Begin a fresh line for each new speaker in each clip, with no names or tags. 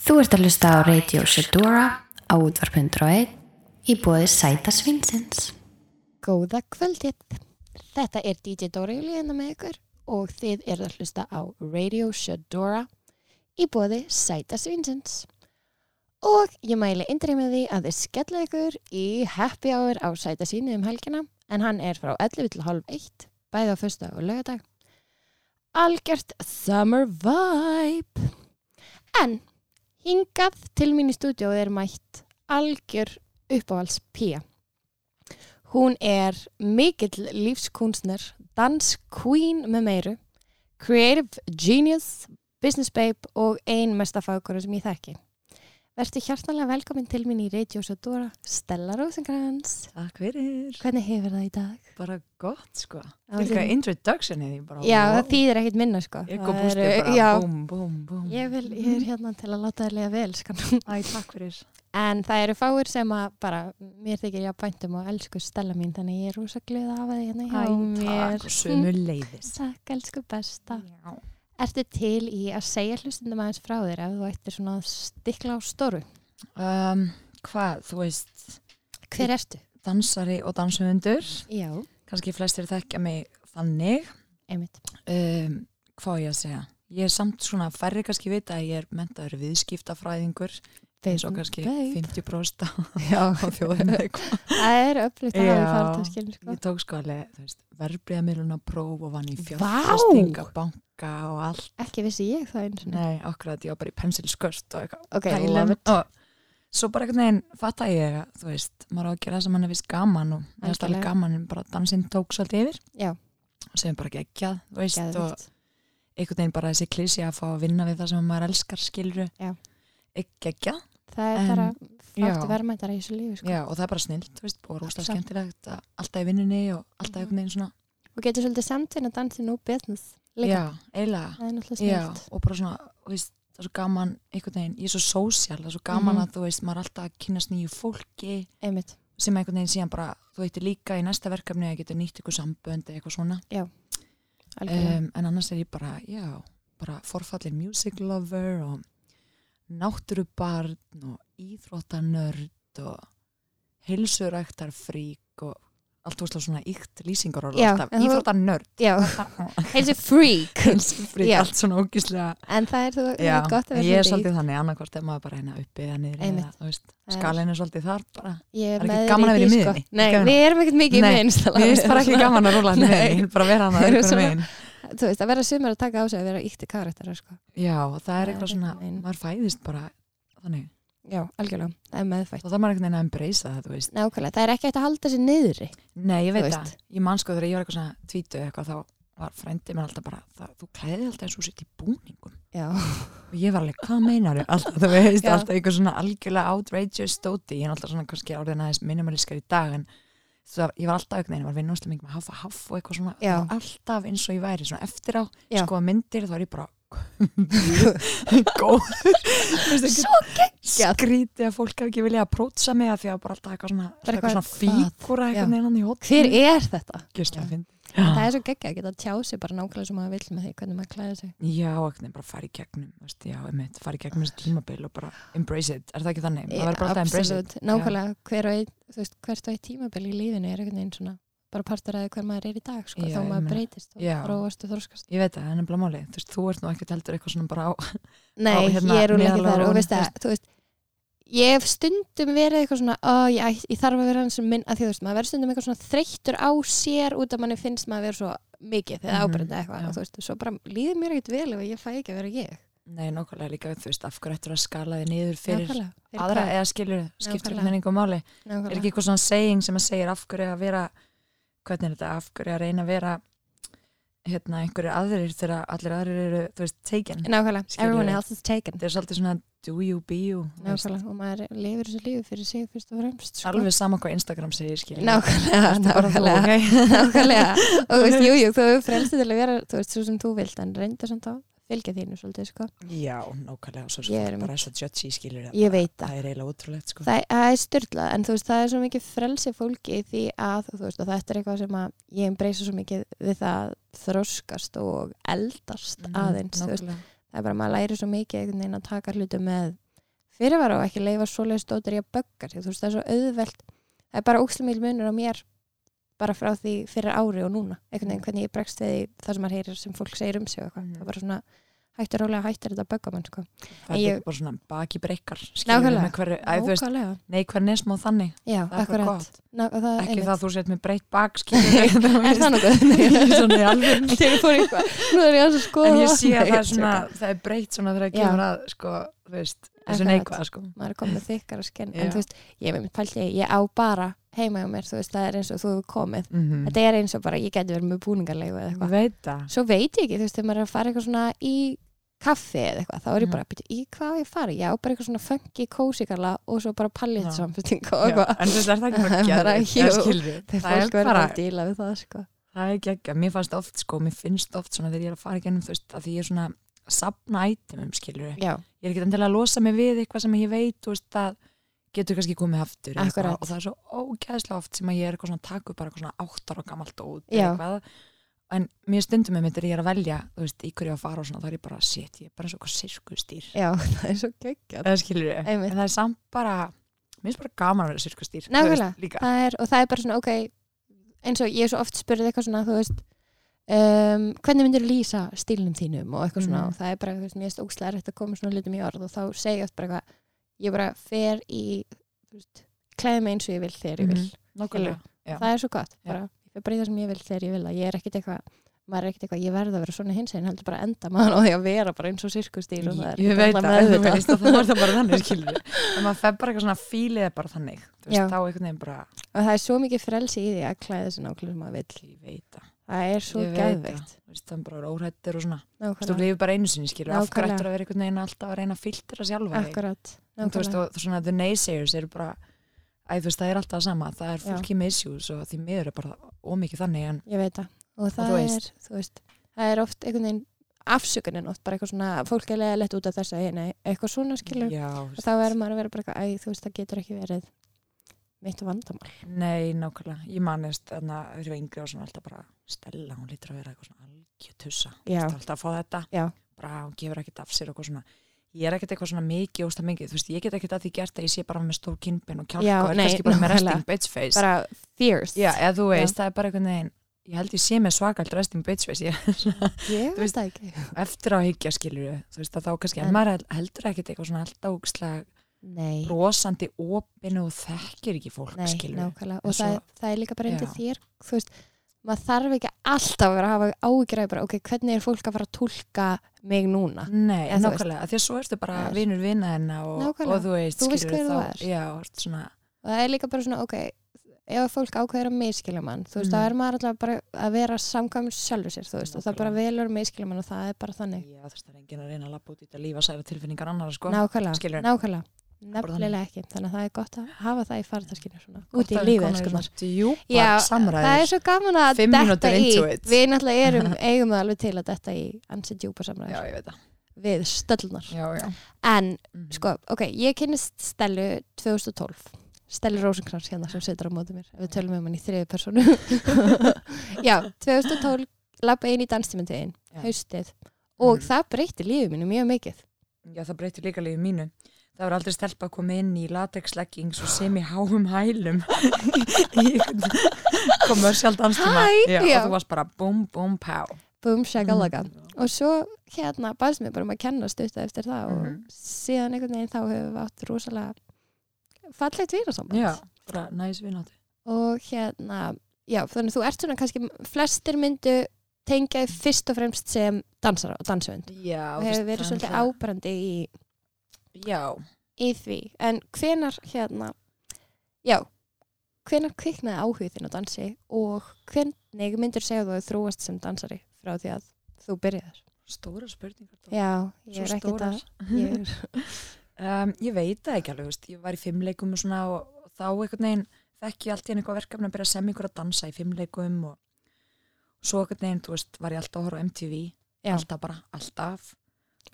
Þú ert að hlusta á Radio Shedora á útvarp101 í bóði Sæta Svinsins.
Góða kvöldið. Þetta er DJ Dóra Júlíðina með ykkur og þið eru að hlusta á Radio Shadora í bóði Sæta Svinsins. Og ég mæli indrið með því að þið skella ykkur í happy hour á Sæta Svínu um helgina en hann er frá 11 til halv 1 bæði á föstudag og lögadag. Algjört summer vibe. En hingað til mín í stúdíu er mætt algjör uppáhalds pía. Hún er mikill lífskúnsner, dans queen með meiru, creative genius, business babe og ein mesta fagkonu sem ég þekki. Vertu hjartanlega velkomin til mín í Radio Sadora, Stella Rosengrans.
Takk fyrir,
Hvernig hefur það í dag?
bara gott sko
Já,
Líka
þín-
introduction er ég bara
Já,
wow.
það þýðir ekkit minna sko.
Ég kom
Það
bústu
eru-
bara,
já.
búm, búm, búm
Ég, vil, ég er hérna til að láta þér lega vel, sko. skan.
Æ, takk fyrir
En það eru fáir sem að bara, mér þykir ég að bæntum og elsku Stella mín, þannig ég er rosa glöða af að hérna hjá mér.
takk, sömu leiðis
Takk, elsku besta.
Já.
Ertu til í að segja hlustundum aðeins frá þér ef þú ættir svona að stikla á stóru?
um, Hvað, þú veist,
Hver ertu?
dansari og dansumundur
Já.
kannski flestir þekkja mig þannig
Einmitt.
um, Hvað á ég að segja? Ég er samt svona færri kannski vita að ég er mentaður viðskiptafræðingur eins og kannski
Veit.
50% á
Mm, Já,
á þjóðinni eitthvað
það er öflugt að hafa
Já.
farið til skilin, sko.
Ég tók sko alveg, þú veist, verbriðamiluna próf og vann í
Vá!
fjárfestingabanka og allt.
Ekki vissi ég það eins og
Nei, okkur að ég var bara í pensilskört og eitthvað.
Ok,
pælum.
love it.
Og svo bara einhvern veginn fatta ég að, þú veist, maður á að gera það sem hann er vist gaman og mér finnst alveg
Algjörlega.
gaman en bara dansinn tók svolítið yfir.
Já.
Og sem er bara geggjað, þú veist,
Geðveikt.
og einhvern veginn bara þessi klísi að fá að vinna við það sem maður elskar skilru.
Já.
Geggjað.
Það er
En-
bara
já.
fátt verðmættar í þessu lífi, sko.
Já, og það er bara snilt, þú veist, og rústa
Samt.
skemmtilegt að alltaf í vinnunni og
Mhm.
alltaf einhvern veginn svona.
Og getur svolítið samtvinna dansið nú business líka.
Já, eiginlega.
Það er náttúrulega
Já,
snilt.
og bara svona, þú veist, það er svo gaman einhvern veginn, ég er svo sósjál, það er svo gaman
Mhm.
að þú veist, maður er alltaf að kynast nýju fólki
Einmitt.
sem einhvern veginn síðan bara, þú veitir líka í næsta verkefni að geta nýtt ykkur sambönd eða eitthvað svona,
Algjörlega.
um, en annars er ég bara, já, bara forfallin music lover og náttúrubarn og íþróttanörd og heilsuræktar frík og allt úrslega svona ykt lýsingar og
Já,
alltaf,
en þú-
íþróttanörd
Já, heilsu freak.
heilsufrík,
Já.
allt svona ógislega
En það er þú
Já,
gott að vera
ég
svolítið
er
í-
svolítið þannig, annarkvort er maður bara hérna uppi eða niður eða,
Einmitt.
þú veist,
Það er-
skalinn er svolítið þar bara.
Ég
Það er ekki
með þér
gaman
í
að vera í
því,
miðjunni.
Sko. Nei,
Ekki gaman.
við erum ekkert mikið
Nei,
í miðinni. Stella.
Mér finnst bara ekki gaman að rúla hann
Nei.
með, ég vil bara vera hann að
Eru
einhverjum
svona-
megin.
Þú veist, að vera sumar að taka á sig að vera ítti karakterar, sko.
Já, það
er
er eitthvað svona,
einhvern veginn.
maður fæðist bara þannig,
Já, algjörlega. Það er meðfætt.
þá þarf maður einhvern veginn að embracea það, þú veist.
Nákvæmlega, það er ekki hægt að halda sér niðri.
Nei, ég
Þú
veit
veist.
það, ég man sko þegar ég var eitthvað svona tvítu eitthvað, þá var frendi mér alltaf bara, það, þú klæði alltaf eins og sitt í búningum.
Já,
Og ég var alveg, hvað meinar ég? Alltaf, þú veist,
Já.
alltaf einhver svona algjörlega outrageous stóti, ég er alltaf svona kannski orðin aðeins minimaliskar í dag, en svo að ég var alltaf einhvern veginn, var vinn úrslega mikið með hafa haff og eitthvað svona,
Já.
það var alltaf eins og ég væri svona eftir á,
Já.
sko myndir, þá er ég bara góður svo
geggjað.
skrítið að fólk hafi ekki vilja að prótsa mig að því að bara alltaf eitthvað svona,
Bara
eitthvað svona
eitthvað-
fíkura
Já.
eitthvað neina í hótt
hver er þetta? Já.
Gjöslega,
Það
já,
er svo geggja að geta tjá sig bara nákvæmlega sem maður vill með því hvernig maður klæði sig.
já, eitthvað bara fara í gegnum þú veist, já, einmitt, fara í gegnum þessi tímabil og bara embrace it, er það ekki þannig? Það verður bara alltaf embrace it
Absolutt. Nákvæmlega, hver og einn, þú veist, hvert og eitt tímabil í lífinu er einhvern veginn svona bara partur að hver maður er í dag, sko,
Já,
þá
ég
maður
meina.
breytist og
Já.
þróast og þróskast.
Ég veit það, það er nefnilega máli, þú veist, þú ert nú ekkert heldur eitthvað svona bara á
Nei,
hérna,
ég er úr ekki þar og
neðarlega ofan,
veist
þú
það, þú veist ég hef stundum verið eitthvað svona ó, ég, ætt- ég þarf að vera hans minn að því þú veist, maður verður stundum eitthvað svona þreyttur á sér út að manni finnst maður að vera svo mikið þegar
Mhm,
ábyrðandi eitthvað
já.
og þú veist, svo bara líður mér ekkert vel ef ég fæ ekki að vera ég
Nei, nákvæmlega líka, þú veist, af hverju ættur að skala þið niður fyrir
Nákvæmlega, fyrir
aðra
hvað?
eða skilur, skiptur
Nákvæmlega.
með einhver máli Er
Nákvæmlega.
ekki eitthvað svona saying sem að segir af hverju að vera hvernig er þetta, af hverju að reyna að vera hérna, einhverju aðrir þegar allir aðrir eru, þú veist, taken
Nákvæmlega,
Skilur
everyone
við.
else is taken
Þetta er svolítið svona do you be you þú veist.
Nákvæmlega, og maður lifir þessu lífi fyrir sig fyrst og fremst sko.
Alveg sama hvað Instagram segir, skilur
Nákvæmlega, nákvæmlega nákvæmlega og þú veist, jú, jú, þú hefur frelsið til að vera þú veist, svo sem þú vilt, en reynda samt að fylgja þínu svolítið, sko
Já, nákvæmlega, og svo
Ég er
er bara svo judgy, skilur það
Ég veit það
Það er eiginlega ótrúlegt, sko
það, það er styrlað en þú veist það er svo mikið frelsi fólki í því að þú veist og þetta er eitthvað sem að ég embreysa svo mikið við það að þroskast og eldast
Mhm,
aðeins þú veist,
nákvæmlega.
það er bara að maður læri svo mikið einhvern veginn að taka hlutu með fyrirvara og ekki leifa svoleiðis dóttir í að böggar því þú veist það er svo auðvelt það er bara ókslamil munur á mér bara frá því fyrir ári og núna einhvern veginn hvernig ég bregst við því það sem maður heyrir sem fólk segir um sig og eitthvað
Mhm.
það er bara svona hættur rólega hættur þetta að bögga mann sko.
það er
Ég-
ekki bara svona baki breykar
Nákvæmlega.
skilur
Nákvæmlega.
nei hvern er smá þannig
Já,
það er bara
akkurat
gott.
Ná, það er
ekki
einmitt.
það að þú sett með breytt bak skilur
Er það nokkuð?
svona í alveg
Þegar ég fór í eitthvað Nú er ég aðeins að skoða
en ég
það.
sé að
Nei, ég
það er svona það er breytt svona þegar það
Já.
kemur að sko, þú veist, þessu
Akkurat.
neikvæða sko.
maður er komið með þykkara skinn
Já.
en þú veist, ég með mitt pælti, ég á bara heima hjá mér, þú veist, það er eins og þú hefur komið
mm -hmm.
þetta er eins og bara, ég geti verið með búningarlegu eða eitthvað,
veit það
svo veit ég ekki þú veist, þegar maður er að fara eitthvað svona í kaffi eða eitthvað, þá er
Mm.
ég bara að byrja, í hvað á ég að fara ég á bara eitthvað svona funky kósikarla og svo bara pallit
Já.
samfélting og
Já,
eitthvað
en þú veist, er það ekki
Það er bara,
bara
jú.
geðið
þegar
það
fólk
er
verður
bara
að díla við það sko.
það er geggja, mér fannst oft sko, mér finnst oft svona þegar ég er að fara í gennum þú veist, að því ég er svona að sapna ætumum skilur,
já,
ég er ekki endilega að losa mig við eitthvað sem ég veit, þú veist, það getur kannski komið aftur eða
Akkurat.
eitthvað, og það er svo ógæðslega oft sem að ég er eitthvað svona að taka upp bara eitthvað svona áttar og gamalt út
Já.
eða eitthvað, en mér stundum með mitt er ég er að velja, þú veist, í hverju ég á að fara og svona, þá er ég bara, shit, ég er bara eins og eitthvað sirkustýr
já, það er svo geggjað
eða skilur ég,
Einmitt.
en það er samt bara mér finnst bara gaman að vera sirkustýr þú
Nákvæmlega.
veist, líka,
það er, og það er bara svona, ok eins og ég er svo oft spurði eitthvað svona, þú veist um, hvernig myndir lýsa stílnum þínum og eitthvað svona,
Mhm.
og það er bara, þú veist, mér erst ókslega rétt að koma svona hlutum í orð og þá segi ég oft bara eitthvað, ég bara fer í þú veist, klæði mig eins og ég vil þegar ég vil
nákvæmlega Mhm. Já.
það er svo gott,
Já.
bara, ég fer bara í það sem ég vil þegar ég vil að ég er ekkit eitthvað maður er ekkert eitthvað, ég verð að vera svona hins einn heldur bara enda maður á því að vera bara eins og sirkustýr og það er
ég
ekkert
veit
alla
það, þú
meðvitað.
veist, og það var það bara þannig skilur en maður fer bara eitthvað svona fílið er bara þannig,
Já.
þú veist, þá einhvern veginn bara
og það er svo mikið frelsi í því að klæða sér nákvæmlega sem maður vill
ég veit það,
það er svo
Ég veit það.
geðveikt
þú veist, það er bara óhættir og svona, þú veist,
Nákvæmlega.
þú lifir bara einu sinni skilur, af hverju
Nákvæmlega.
ættur að vera einhvern veginn alltaf að reyna að filtra sjálfa þig?
Akkurat
En þú veist,
nákvæmlega.
og þú- svona the naysayers eru bara æ, þú veist, það er alltaf það sama, það er
Já.
fólki með issues og því miður er bara ómikið þannig en
Ég veit það Og það
þú veist.
er, þú veist, það er oft einhvern veginn afsökunin oft bara eitthvað svona fólk er leiðilegt út af þess að hérna eitthvað svona skilur
já,
og þá er maður að vera bara eitthvað æ, þú veist, það getur ekki verið mitt vandamál
Nei, nákvæmlega, ég manist þannig að þegar ég var yngri og svona alltaf bara Stella, hún lítur að vera eitthvað svona algjötussa
Já,
alltaf að fá þetta,
Já.
bara hún gefur ekkert af sér og eitthvað svona, ég er ekkert eitthvað svona mikið ósta mikið, þú veist, ég get ekkert að því gert að ég sé bara með stór kinnbein og kjálka
Já,
og er
nei,
kannski bara með
nákvæmlega.
resting bitch face
bara fierce
Já, eða þú veist, það er bara einhvern veginn ég held ég sé með svakald resting bitch face ég,
ég
veist-
veist það ekki
eftir á hyggja skilur þú veist, að þá kannski, en
En-
maður heldur ekkert eitthvað svona alltaf ógislega
Nei,
brosandi opinu og þekkir ekki fólk
nei,
skilur
nákvæmlega
En
og það,
svo-
það er líka bara undir
Já.
þér þú veist, maður þarf ekki alltaf að vera að hafa ágræði bara, ok, hvernig er fólk að fara að tólka mig núna
Nei,
Eða þú veist.
nákvæmlega, af því að svo ertu bara
Það er-
vinur vina hennar og,
Nákvæmlega.
og þú veist,
Þú veist hver
skilurðu,
þú
þá-
ert.
Já, ertu svona,
og það er líka bara svona, ok ef að fólk ákveður að miskilja mann þú veist,
Mm.
þá er maður alltaf bara að vera samkvæmur sjálfur sér, þú veist, og það bara velur miskilja mann og það er bara þannig,
já þú veist, það er enginn að reyna að lappa út í þetta lífa særa tilfinningar annara, sko.
nákvæmlega
skilurðu.
nákvæmlega,
Bara þannig.
nefnilega ekki þannig að það er gott að hafa það í farðaskinu svona, út
Gott
í
að við
lífið,
komum í
elskunar
svona djúpar
Já, það er
samræður.
svo gaman að
Fimm
detta
mínútur
í
into it.
við náttúrulega erum, eigum það alveg til að detta í ansi djúpa
Já,
samræður
ég veit það.
við stöllnar
Já, já.
en
Mm.
sko, ok, ég kynnist Stellu 2012 Stellu Rósenkrans hérna sem situr á móti mér ef við tölum um hann í þriði personu já, 2012 lappa inn í danstímyndiðin,
Já.
haustið og
Mhm.
það breytti lífið mínu mjög mikið
Já, það breytir líka lífið mínu. Það var aldrei stelpa að koma inn í latexleggings og sem í háum hælum. Komur sjálf danstíma.
Hæ,
já.
já.
Og þú varst bara búm, búm, pá.
boom shagalaga
Mm.
og svo hérna baðst mér bara um að kenna stutta eftir það
Mhm.
og síðan einhvern veginn þá hefur við átt rosalega fallegt vírasamband
Já, bara næs vinátti.
og hérna já, þannig þú ert svona kannski flestir myndu tengja þig fyrst og fremst sem dansara og dansöfund
Já,
og hefur verið svolítið ábrandi í,
Já,
í því en hvenar hérna já, hvenar kviknaði áhugð þinn á dansi og hvernig myndir segja þú að þú þróast sem dansari frá því að þú byrjaðir
stóra spurningar. Dóra.
já, ég
Svo
er ekkert
stórar.
að ég er,
Um, ég veit það ekki alveg, veist, ég var í fimmleikum og svona og, og þá einhvern veginn þekki ég allt í einu eitthvað verkefni að byrja að semja ykkur að dansa í fimmleikum og, og svo einhvern veginn, þú veist, var ég alltaf að horfa á MTV,
Já.
alltaf bara, alltaf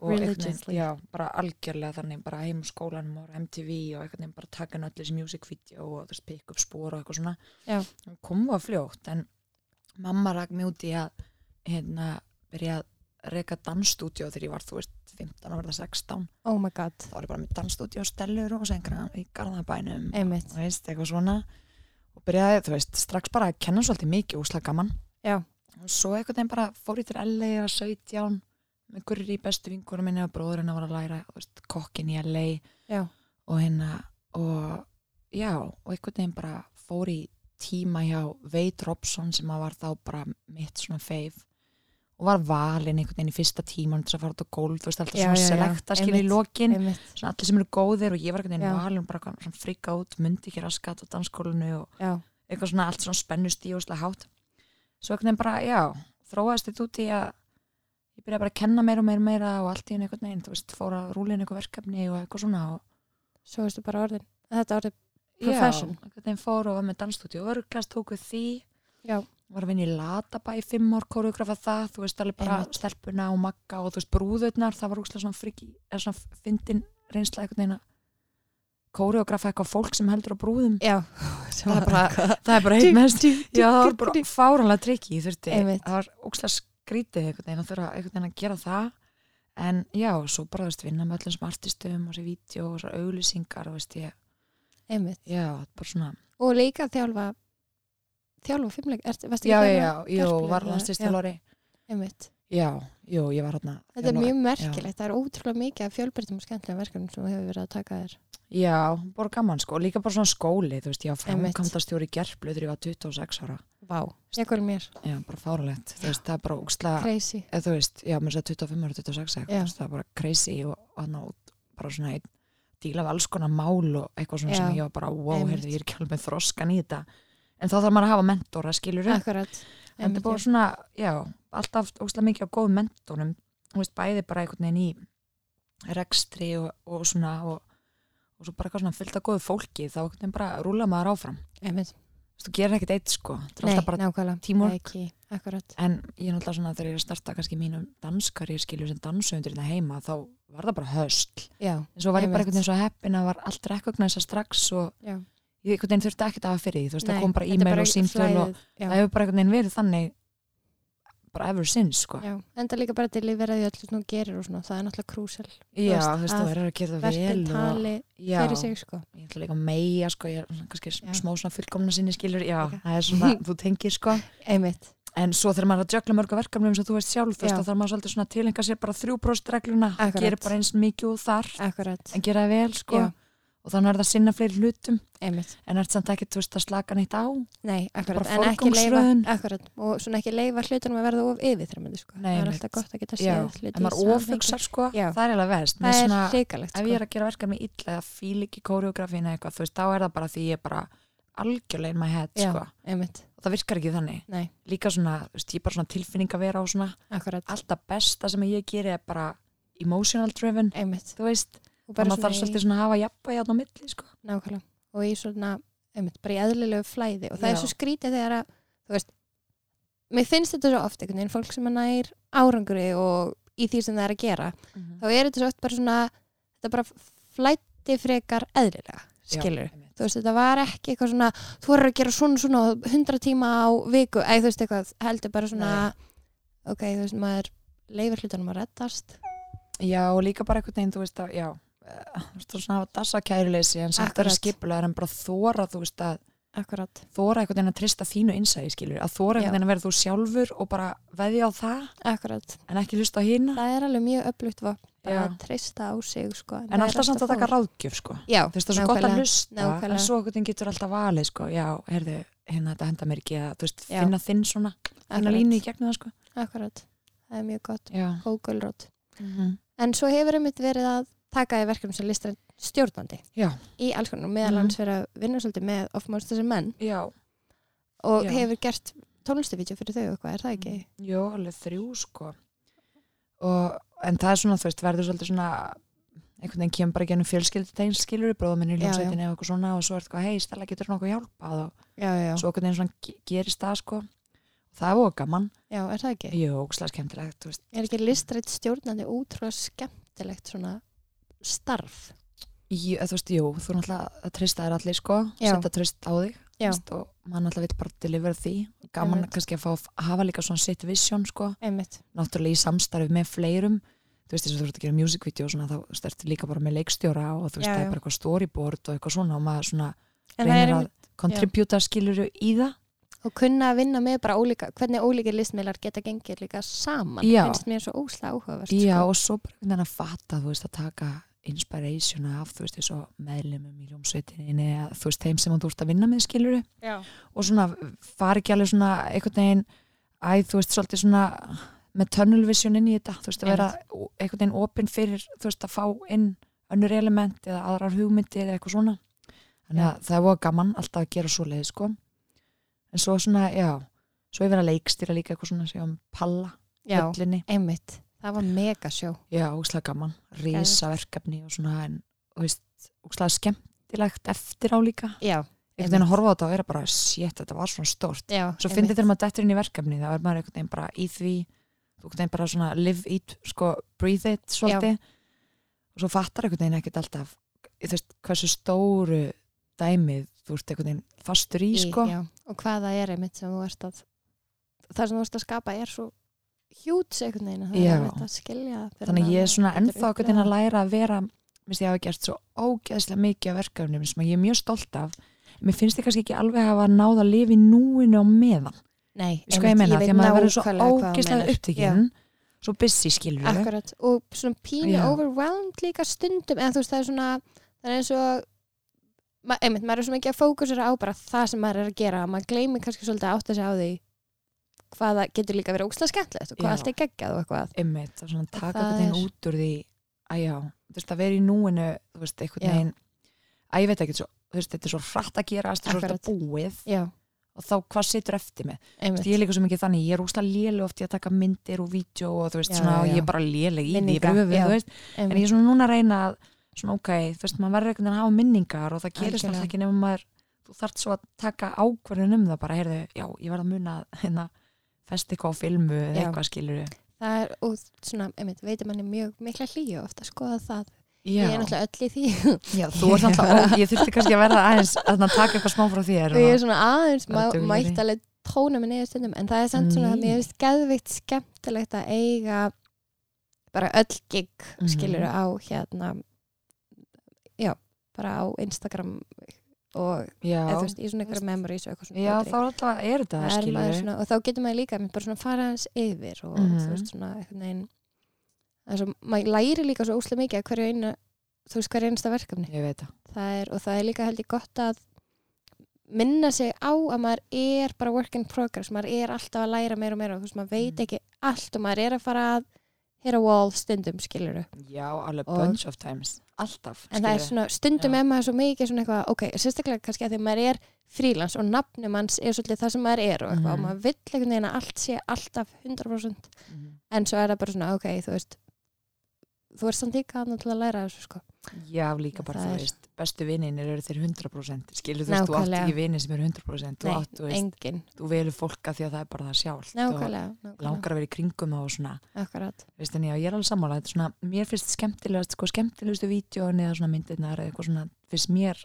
og einhvern veginn-
Religiously.
já, bara algjörlega þannig, bara heim úr skólanum og MTV og einhvern veginn bara taka inn öll þessi music video og þú veist, pick up spór og eitthvað svona
Já.
kom það fljótt en mamma rak mig út í að hérna, byrja að reka dansstúdíó þegar ég var, þú veist, 15 að verða 16
oh my god,
þá var ég bara með dansstúdíó stellur og sengra í Garðabænum
einmitt
þú veist, eitthvað svona og byrjaði, þú veist, strax bara að kenna svolítið mikið úsla gaman
Já.
og svo einhvern veginn bara fór ég til LA að 17 með gurri bestu vinkunum minni og bróður hennar var að læra, þú veist, kokkin í LA
já,
og hérna og já, og einhvern veginn bara fór í tíma hjá Veit Robson sem að var þá bara mitt svona feif og var valinn einhvern veginn í fyrsta tíma til að fara út á gólf, þú veist, alltaf
Já,
svona
já, já,
selekta skilja í
einmitt,
lokin
einmitt
svona allir sem eru góðir og ég var einhvern veginn
Já.
valinn bara eitthvað svona frika út, myndi ekki raskat á danskólinu og
já,
eitthvað svona allt svona spennust í óslega hátt svo einhvern veginn bara, já, þróaðist þetta út í að ég byrjaði bara að kenna meira og meira og meira og allt í einu einhvern veginn, þú veist, fór að rúlin eitthvað verkefni og eitthvað svona og
svo veistu bara orðin þetta orðin,
Já,
Profession.
einhvern veginn fór og var með dansstúdíu og örglast, tók við því
já,
var að vinna í Latabæ í fimm ár koreografa það, þú veist alveg bara
Einmitt.
stelpuna og magga og þú veist brúðurnar það var úkslega svona friki, eða svona fyndin reynsla einhvern veginn að koreografa eitthvað fólk sem heldur á brúðum
já
það er bara, það er bara eitt mest
djú,
já, það var bara fáranlega trikki ég þurfti,
Einmitt.
það var úkslega skrítið einhvern veginn að þurfa einhvern veginn að gera það en já, svo bara þú veist vinna með öllum sem artistum og þessi vídeo og þessi auglýsingar og veist ég,
einmitt,
já, bara svona
og líka þjálfa þjálfa fimmleik, ertu, veistu
já, já, já,
Gerplu,
jú, var
eða-
landslistilóri
einmitt
já, jú, ég var hérna
Þetta er mjög
já.
merkilegt, það er ótrúlega mikið af fjölbreytum og skemmtilega verkefnum sem þú hefur verið að taka þér.
já, bara gaman sko, og líka bara svona skóli þú veist, ég var
Einmitt.
framkvæmdastjóri í gerplu þegar ég var 26 ára,
Vá, ég kvöl mér,
já, bara fáralegt þú veist, það er bara úkslega,
crazy.
eða þú veist já, mér sér 25 ára, 26 ára,
Já.
þú veist, það er bara crazy og hann út, bara svona einn díla af alls konar mál og eitthvað svona
Já.
sem ég var bara, wow,
Einmitt.
heyrðu, ég er ekki alveg með þroskan í þetta, en þá þarf maður að hafa mentora, skilur
Akkurat.
en það er bara svona, já, alltaf óslega mikið á góðum mentónum, þú veist, bæði bara einhvern veginn í rekstri og, og svona og, og svo bara eitthvað svona fullt af góðu fólki þá einhvern veginn bara rúla maður áfram þú
Einmitt.
veist, þú gerir ekkert eitt sko, það er
Nei,
alltaf bara
nákvæmlega.
teamwork.
Ekki, akkurat.
en ég er náttúrulega svona þegar ég er að starta kannski mínum danskar, ég skilju sem dansundur þetta heima, þá var það bara höstl
Já,
en svo var ég bara
Einmitt.
einhvern veginn svo heppin að var allt rekkognæsa strax og
já.
ég einhvern veginn þurfti ekkert að hafa fyrir því, þú veist, það
Nei,
kom bara
þetta er
e-mail og símtöl og
flæðið, já,
það hefur bara einhvern veginn verið þannig bara ever since sko
já. Enda líka bara til að vera því öllu sem þú gerir og svona, það er náttúrulega krúsel.
Já,
veist,
þú veist,
að
þú verður að gera það vel
Verkið
og,
tali
já,
fyrir sig, sko.
ég ætla líka að meia sko, ég er svona kannski
Já.
smá svona fullkomna sinni skilur, já,
Líka.
það er svona, þú tengir sko
Einmitt.
en svo þegar maður er að jökla mörgu verkefnum eins og þú veist sjálf, þú veist,
Já.
þá þarf maður svolítið svona að tilhenga sér bara þrjúbróst regluna,
Akkurat.
gera bara eins mikið og þar,
Akkurat.
en gera það vel sko
Já.
og þannig er það að sinna fleiri hlutum
Einmitt.
en ert samt ekki, þú veist, að slaka neitt á
Nei, akkurat.
Bara
En ekki leifa,
forgangsröðun.
akkurat. Og svona ekki leifa hlutunum að verða of yfirþremandi, sko.
Nei,
Það er
einmitt.
alltaf gott að geta
Já,
séð hluti
en
í
maður
samhengi.
ofugsar sko,
Já.
það er eiginlega verst Mér
Það er
svona,
hrikalegt,
ef
sko.
ég er að gera verkefni illa eða fíl ekki kóreografina eitthvað, þú veist, þá er það bara því ég er bara algjörlega in my head
Já.
sko
Einmitt.
og það virkar ekki þannig
Nei.
líka svona, þú veist, ég er bara svona tilfinning að vera á svona
Akkurat,
alltaf besta sem ég geri er bara emotional driven,
einmitt
þú veist
og bara
þannig að þarf
í-
svolítið svona að hafa jafnvægi játn á milli, sko
nákvæmlega og í svona, einmitt, bara í eðlilegu flæði og það er
Já.
svo skrítið þegar að þú veist, mér finnst þetta svo oft einhvern veginn, fólk sem að nær árangri og í því sem það er að gera þá er þetta svo oft bara svona þetta bara flætti frekar eðlilega skilur, þú veist, þetta var ekki eitthvað svona, þú voru að gera svona svona 100 tíma á viku, eða þú veist eitthvað heldur bara svona, ok, þú veist maður leifir hlutunum að reddast
já, og líka bara einhvern veginn, þú veist að, já eh, þú veist, þú svona hafa dasa kæruleysi en samt
Akkurat.
vera skipulegar en bara þóra, þú veist að
akkurat,
þóra einhvern veginn að trista þínu innsæði, skilur að
Já.
þóra einhvern veginn að vera þú sjálfur og bara veðja á það,
akkurat
en ekki hlusta á hina
það er alveg mjög öflugt vopn bara
Já.
að treysta á sig sko,
en alltaf samt að taka ráðgjöf, sko
já,
þú veist það er svo gott að
nákvæmlega.
hlusta
nákvæmlega.
en svo einhvern veginn getur alltaf valið sko, já, heyrðu, hérna þetta henda mér ekki að þú veist,
Já.
finna þinn svona, finna
Akkurat.
línu í gegnum það sko
akkurat, það er mjög gott
já,
góð gulrót
mm
en svo hefur einmitt verið að taka í verkefnum sem listar stjórnandi
Já.
í alls konar, meðal
Mhm.
hans verið að vinna svolítið með of most þessir menn
já,
og
Já. Mm.
hefur gert tónlistavídeó fyrir þau og eitthvað, er það ekki?
jú, alveg þrjú sko og, en það er svona þú veist, verður svolítið svona einhvern veginn kemur bara gennum fjölskyldutegn skilur í bróðum minni í
Já, já.
hljómsveitinni og eitthvað svona og svo er eitthvað, hei, Stella, getur nokkuð hjálpað og
Já, já,
svo einhvern veginn svona ge- gerist það sko það er óg gaman,
já, er það ekki?
jú, ógslag skemmtilegt þú veist,
Er ekki listrætt stjórnandi útrúlega skemmtilegt svona starf?
Jú, eða þú veist, jú, þú náttúrulega að treysta þær allir sko,
Já.
setja treyst á þig þú
Já.
veist, og maður náttúrulega veit bara að delivera því gaman
Einmitt.
kannski að fá að hafa líka svona sitt vision sko,
einmitt,
náttúrulega í samstarfi með fleirum þú veist, þess að þú ert að gera music video og svona, þá stertu líka bara með leikstjóra og þú veist,
Já,
það
já.
er bara eitthvað storyboard og eitthvað svona og maður svona
en það er
reynir
einmitt
að kontribjúta skiluru í það
og kunna að vinna með bara ólíka hvernig ólíkir listmiðlar geta gengið líka saman
Já.
finnst mér svo óslega áhugavert
Já,
sko.
og svo bara einhvern veginn að fatta, þú veist, að taka inspiration af, þú veist, þessu meðlumum í ljómsveitinni, eða, þú veist, þeim sem þú ert að vinna með skiluru
Já.
og svona fari ekki alveg svona einhvern veginn, æ, þú veist, svolítið svona með tunnel vision inn í þetta, þú veist, að vera einhvern veginn opinn fyrir, þú veist, að fá inn önnur element eða aðrar hugmyndir eða eitthvað svona. Þannig að það er voða gaman alltaf að gera svo leið, sko. En svo svona, já, svo ég vera leikstýra líka eitthvað svona, segjum, palla,
Já,
höllinni.
einmitt, það var mega sjó
Já, úkslega gaman, rísa verkefni og svona en, þú veist, úkslega skemmtilegt eftir á líka
Já,
einhvern veginn að horfa á þetta og vera bara, sétt, þetta var svona stort
já
svo finnir þetta maður dettur inn í verkefni þá er maður einhvern veginn bara í því þú einhvern veginn bara svona live it, sko breathe it svolítið og svo fattar einhvern veginn ekkert alltaf þú veist, hversu stóru dæmið þú ert einhvern veginn fastur í, sko
já, og hvað það er einmitt sem þú ert að það sem þú ert að skapa er svo hjúts einhvern veginn að það
Já.
er einmitt að skilja það fyrr
þannig
en
að ég er svona
maður getur upplifað
ennþá einhvern veginn að læra að vera minnst ég hafa gert svo ógeðslega mikið af verkefnum sem að ég er mjög stolt af mér finnst ég kannski ekki alveg hafa náð að lifa í núinu á meðan
það. Nei,
sko ég meina, því að maður verður svo
nákvæmlega hvað þú
ógeðslega
meinar.
upptekinn svo busy skilur við
Akkurat, og svona pínu
Já.
overwhelmed líka stundum, en þú veist það er svona það er eins og ma- einmitt, maður er svo mikið að fókusera á bara það sem maður er að gera, maður gleymi kannski svolítið að átta sig á því hvað það getur líka verið ógstlega skemmtilegt og hvað
Já.
allt er geggjað og eitthvað
einmitt, að svona taka
það
einhvern veginn
er-
út úr því að já, þú veist að vera í núinu þú veist, einhvern
Já.
veginn að ég veit ekki, svo, þú veist, þetta er svo hratt að gerast og svo er
Akkurat.
þetta búið
Já,
og þá hvað situr eftir mig Þú veist,
einmitt,
ég er líka svo mikið þannig, ég er úslega léleg oft í að taka myndir og vídeo og þú veist,
Já,
svona,
já,
og ég
já.
er bara léleg í því, ég
Minningar,
pröfu,
já.
þú veist en
einmitt.
ég er svona núna að reyna að svona ok, þú veist, maður verður einhvern veginn að hafa minningar og það gerist
Algjörlega.
alltaf ekki nema maður þú þarft svo að taka ákvörðun um það bara, heyrðu, já, ég verð að muna að, hérna, festi eitthvað á filmu eða
Já.
eitthvað skilur
það er, og svona, einmitt, veitir manni mjög mikla hlýju ofta að skoða það ég er náttúrulega öll í því
Já, þú ert alltaf, ó, ég þurfti kannski að verða aðeins að taka eitthvað smá frá þér
og ég er svona aðeins
Bara duglegri.
mættaleg tóna mig niður stundum en það er samt svona
Ný.
að mér finnst geðvikt skemmtilegt að eiga bara öll gig
Mhm.
skilur á hérna já, bara á Instagram og
já,
eða, þú veist, í svona ykkur memories og eitthvað svona
já
dótri.
þá er alltaf, er þetta
Það er
skilur
maður svona, og þá getur maður líka einmitt bara svona fara aðeins yfir og
Mhm.
þú veist svona einhvern veginn það er svo, maður læri líka svo óslega mikið að hverju einu, þú veist hverju einasta verkefni
Ég veit það,
það er, og það er líka held ég gott að minna sig á að maður er bara work in progress, maður er alltaf að læra meira og meira, þú veist maður veit
Mhm.
ekki allt og maður er að fara að hera wall stundum skiluru,
já, alveg
Og-
bunch of times alltaf,
en það er
skilurðu.
svona stundum
Já.
er maður svo mikið svona eitthvað, ok, sérstaklega kannski að því maður er frílans og nafnum hans er svolítið það sem maður er og eitthvað
Mhm.
og maður vill einhvern veginn að allt sé alltaf 100%
Mhm.
en svo er það bara svona, ok, þú veist þú ert samt líka að til að læra þessu sko.
Já, líka bara,
Það
þú
er-
veist, bestu vininir eru þeir 100%, skilur þú veist, þú átt
Nákvæmlega.
ekki vini sem eru 100%, þú
Nei,
átt, þú veist,
engin,
þú velur fólka því að það er bara það sjálft
nákvæmlega,
og
nákvæmlega.
langar að vera í kringum það og svona,
akkurat,
veist, en já, ég er alveg sammála, þetta er svona, mér finnst skemmtilegast, sko, skemmtilegustu vídjóin eða svona myndirnar eða eitthvað svona, finnst mér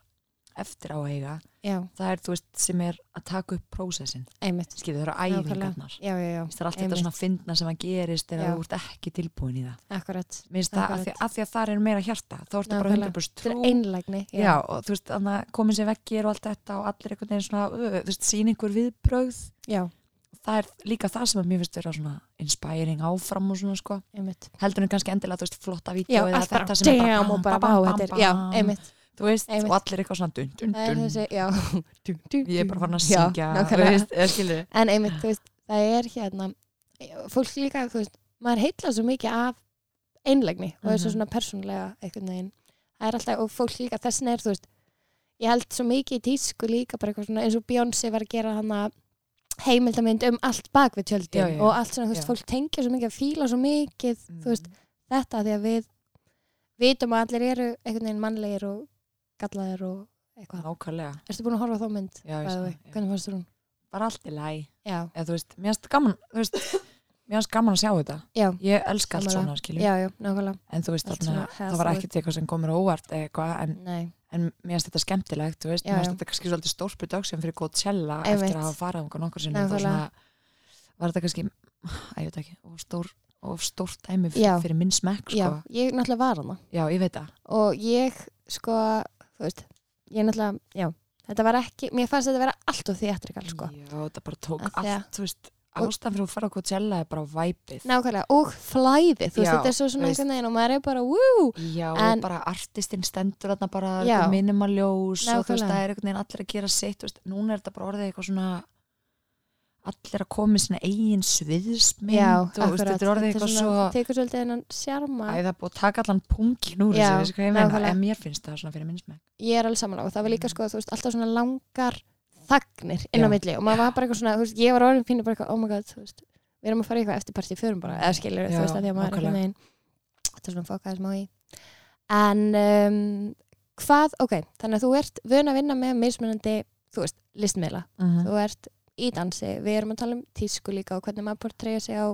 eftir á að eiga,
já,
það er, þú veist, sem er að taka upp prósessin,
einmitt
skilur það eru
Nákvæmlega.
æfingarnar,
já, já, já,
Mér finnst það er allt þetta
Einmitt.
svona fyndna sem að gerist
Já.
eða þú ert ekki tilbúin í það,
akkurat
Mér finnst það, af því,
Nákvæmlega.
af því að það er meira hjarta, þá ertu bara
Nákvæmlega.
100%
þetta
trú
er einlægni
Já. og þú veist, þannig að komin sér veggir og allt þetta og allir einhvern veginn svona, ö, þú veist, sín einhver viðbrögð.
já,
Það er líka það sem að mér finnst vera svona inspiring áfram og svona, sko.
einmitt
Heldur en kannski endilega, þú veist, flotta vídeo
já,
eða
allt bara,
þetta sem er
damn, og bara, vá, þetta er já, einmitt,
Þú veist,
einmitt.
og allir eitthvað svona dun, dun,
það er
dun.
þessi, já dun, dun,
Ég er bara farin að
Já,
syngja, þú
nákvæmlega.
veist, eða skilur.
en einmitt, þú veist, það er hérna fólk líka, þú veist, maður heitla svo mikið af einlægni og þessu
Mhm.
svona persónlega einhvern veginn það er alltaf, og fólk líka þessin er, þú veist ég held svo mikið í tísku líka bara eitthvað svona eins og Beyoncé var að gera hana heimildamynd um allt bak við tjöldin
Já, já, já.
og allt svona, þú veist,
Já. Mhm.
fólk tengja svo mikið að fíla svo mikið, þú veist, þetta af því að við vitum að allir eru einhvern veginn mannlegir og gallaðir og eitthvað.
Nákvæmlega,
Erstu búin að horfa á þá mynd?
já, ég
bæði
sé
vei,
það, já.
hvernig fannst þú hún?
Bara allt í læg.
Já,
Eða þú veist, mér finnst gaman, þú veist, mér mér finnst gaman að sjá þetta
já,
ég elska allt
Sammála.
svona skilju
já, já, nákvæmlega
en þú veist
Allt
þarna,
svona
það var
hassle.
ekkert eitthvað sem komur óvart eða eitthvað en,
nei,
en mér finnst þetta skemmtilegt þú veist,
Já,
mér finnst
já.
þetta kannski svolítið stórspyrt dagsinn fyrir Coachella
Einmitt.
eftir að hafa farað um nokkur sinni var,
Nákvæmlega.
svona, var þetta kannski, að ég veit ekki og stór, og stór dæmi
Já.
fyrir, fyrir minn smekk
já,
sko.
ég náttúrulega var hana
já, ég veit það
og ég sko, þú veist ég náttúrulega, já, þetta var ekki mér fannst þetta vera allt og þiatrikal sko
já, þetta bara tók
Af því að-
allt þú veist, ástæðan fyrir að fara á Coachella er bara væpið
nákvæmlega, og flæðið, þú veist,
Já,
þetta er svo svona
veist.
einhvern veginn og maður er bara, wú,
Já,
En-
og bara artistinn stendur þarna bara
Já.
minimaljós og þú veist,
Nákvæmlega.
það er einhvern veginn allir að gera sitt, þú veist, núna er þetta bara orðið eitthvað svona allir að koma í sinna eigin sviðsmynd
já,
og þú veist, þetta er orðið eitthvað svo
svona, tekur svolítið hennan sjarma
Æ, það er búið að taka allan punkin úr
Já,
þessu, þessu hvað ég meina,
nákvæmlega.
en mér finnst það svona fyrir minnsmenn.
ég er alveg samanlega og það var líka sko, þú veist, alltaf svona langar þagnir inn á
Mhm. Já.
milli og maður var bara eitthvað svona, þú veist, ég var orðin pínu bara eitthvað, oh my god, þú veist, við erum að fara í eitthvað eftir partí förum bara, eða skilur,
Já,
þú veist, að því að maður er
nákvæmlega.
einhvern veginn þetta er svona fokkaði smá í en um, hvað, ok þannig að þú ert vön að vinna með mismunandi þú veist, listmiðla, þú ert í dansi, við erum að tala um tísku líka og hvernig maður portreyja sig á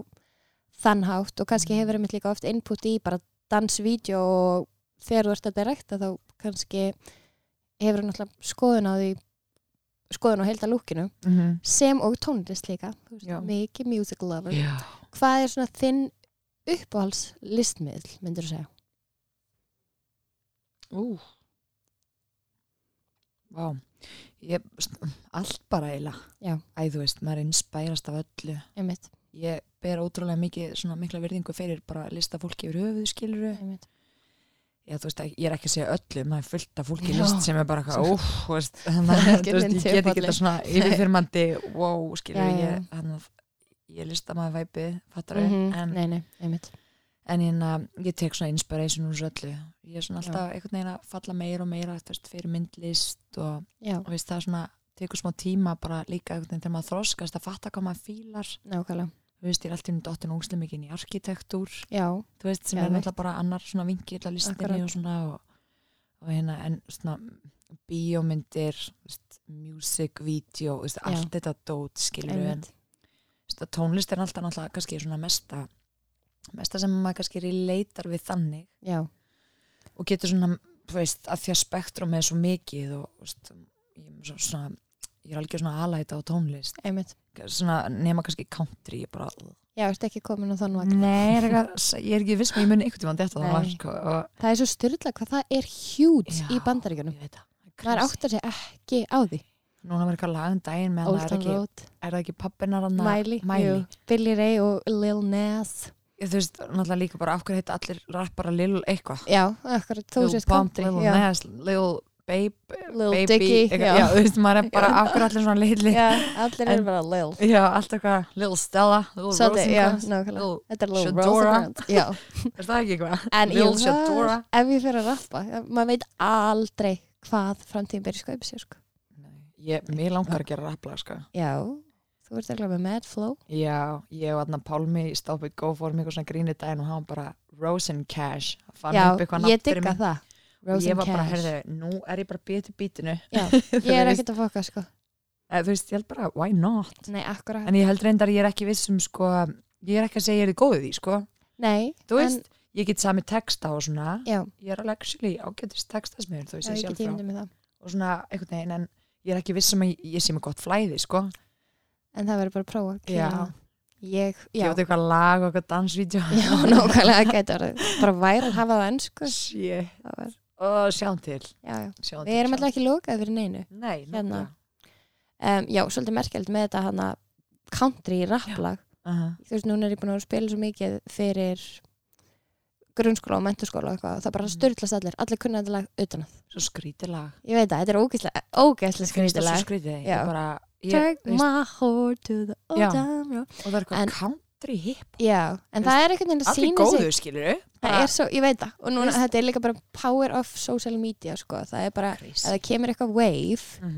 þannhátt og
Mm.
kannski hefur einmitt líka oft input í bara dansvídeó og þegar þú ert að direkta þá kannski hefur hann alltaf skoðun á því skoðun á heilda lúkinu sem og tónlist líka þú veist,
Já.
mikið music lover
Já.
hvað er svona þinn uppáhalds listmiðl, myndur þú segja
Ú. Vá. Ég, allt bara eila.
Já.
Æ, þú veist, maður inspærast af öllu.
einmitt,
ég ber ótrúlega mikið svona mikla virðingu fyrir bara lista fólki yfir höfuð skiluru
einmitt.
ég, veist, ég er ekki að segja öllum, það er fullt af fólki í
Já.
list sem er bara eitthvað óf veist, þannig,
Það er
að,
ekki
þú veist,
minn
ég get
tilfalli.
ekki þetta svona yfirfyrmandi wow skiluru
Já, já, já.
ég, þannig að ég lista maður væpi fattari,
Mm -hmm.
en,
nei, nei, einmitt
en hérna, ég tek svona inspiration úr þessu öllu ég er svona alltaf einhvern veginn að falla meira og meira þú veist, fyrir myndlist og,
já,
og veist, það er svona tekur smá tíma bara líka einhvern veginn þegar maður þroskast að fatta hvað maður fílar
nákvæmlega,
þú veist, ég er alltaf um dottin ógslega mikið inn í arkitektúr
já,
þú veist, sem er
Geðveikt.
náttúrulega bara annar svona vingill að listinni
Akkurat.
og svona og, og hérna, en svona bíómyndir, þú veist, music, video, þú veist,
Já.
allt þetta dót skilur við, en
einmitt
þú veist, að tónlist er alltaf náttúrulega kannski svona mesta mesta sem maður kannski relatar við þannig
já,
og getur svona, þú veist, að því að spektrum er svo mikið og, þú veist, ég er svo- svona ég er algjör svona alæta á tónlist
einmitt
svona, nema kannski country, ég bara
já, ertu ekki komin á þann vagn
Nei, ég er eitthvað- ég er ekki viss með ég muni einhvern tímann þetta
Nei.
það var sko, og
það er svo styrla hvað það er huge
Já.
í bandaríkjunum
ég veit það, það
maður
er crazy.
áttar sig ekki á því
núna var eitthvað lag um daginn með hann er,
Old
það
Town
ekki-
Road,
er það ekki pappinar hann
Miley, jú, Billy Ray og Lil Nas
þú veist, náttúrulega líka bara af hverju heit allir rappara Lil eitthvað
Já, akkurat, þú
Lil
sést
Pump,
country
Lil
já.
Nas, Lil Babe
Lil
Baby,
Dicky,
eitthvað,
já.
já, þú veist, maður er bara af hverju allir svona litli
já, allir
En-
eru bara Lil
já, allt eitthvað, Lil Stella Lil
Svolítið, já,
Rosencrantz
nákvæmlega
Lil,
Þetta er Lil
Shadora.
Rosencrantz Já,
er það ekki eitthvað?
en
Lil
jú,
Shadora.
það- ef ég fyrir að rappa já, maður veit aldrei hvað framtíðin byrja skaupi sér sko.
Ég, mér langar að gera rappla, sko
Já, þú ert ekki með Mad Flow
Já, ég og aðna Pálmi í Stop It Go fórum eitthvað svona grínið daginn og hann bara Rosen Cash, fann
Já,
upp eitthvað
ég
nafn fyrir
digga
mig.
það
og
Rose
ég
and
var bara,
Cash
herðu, nú er ég bara býtt í bítinu
Já,
Þú
Ég er
veist,
ekkert að fokka sko
eh, Þú veist, ég held bara, why not?
Nei, akkurat,
En ég held reyndar, ég er ekki viss um, sko Ég er ekki að segja ég er góðið í, sko
nei
Þú veist, ég get sami texta og svona
Já,
Ég er alveg actually ágætist textasmiður, þú
já,
veist, ég
ég
sjálf
get ég
frá
myndið með það
Og svona, einhvern veginn, en ég er ekki viss um að ég, ég sé með gott flæði, sko
En það verður bara að prófa að
Já.
kýla það. Ég, já,
Ég veit eitthvað lag og eitthvað dansvídeó
já, nákvæmlega það gæti orðið. Bara væri að hafa það ennsku
Shit.
Það var,
Ó, sjáum til,
já, já.
sjáum til
Við erum
sjáum
alltaf ekki lokað fyrir neinu
Nei,
Hérna. um, Já, svolítið merkjald með þetta hana country rapplag
uh
Þú veist, núna er ég búin að vera að spila svo mikið fyrir grunnskóla og menturskóla og eitthvað og það bara
Mhm.
styrlast allir, allir kunna þetta lag utan að
Svo skrítið lag
Ég veit það, þetta er ógæslega, ógæslega
Finnst það
skrítilag
svo skrítið,
Já.
ég bara ég,
Take
veist,
my heart to the old
Já.
time road.
og það er eitthvað
En-
country hip
Já, en
Þú
það er einhvern veginn að
allir
sína sig
góðu skilur
það er svo, ég veit það og núna,
Veist-
þetta er líka bara power of social media sko. það er bara, ef það kemur eitthvað wave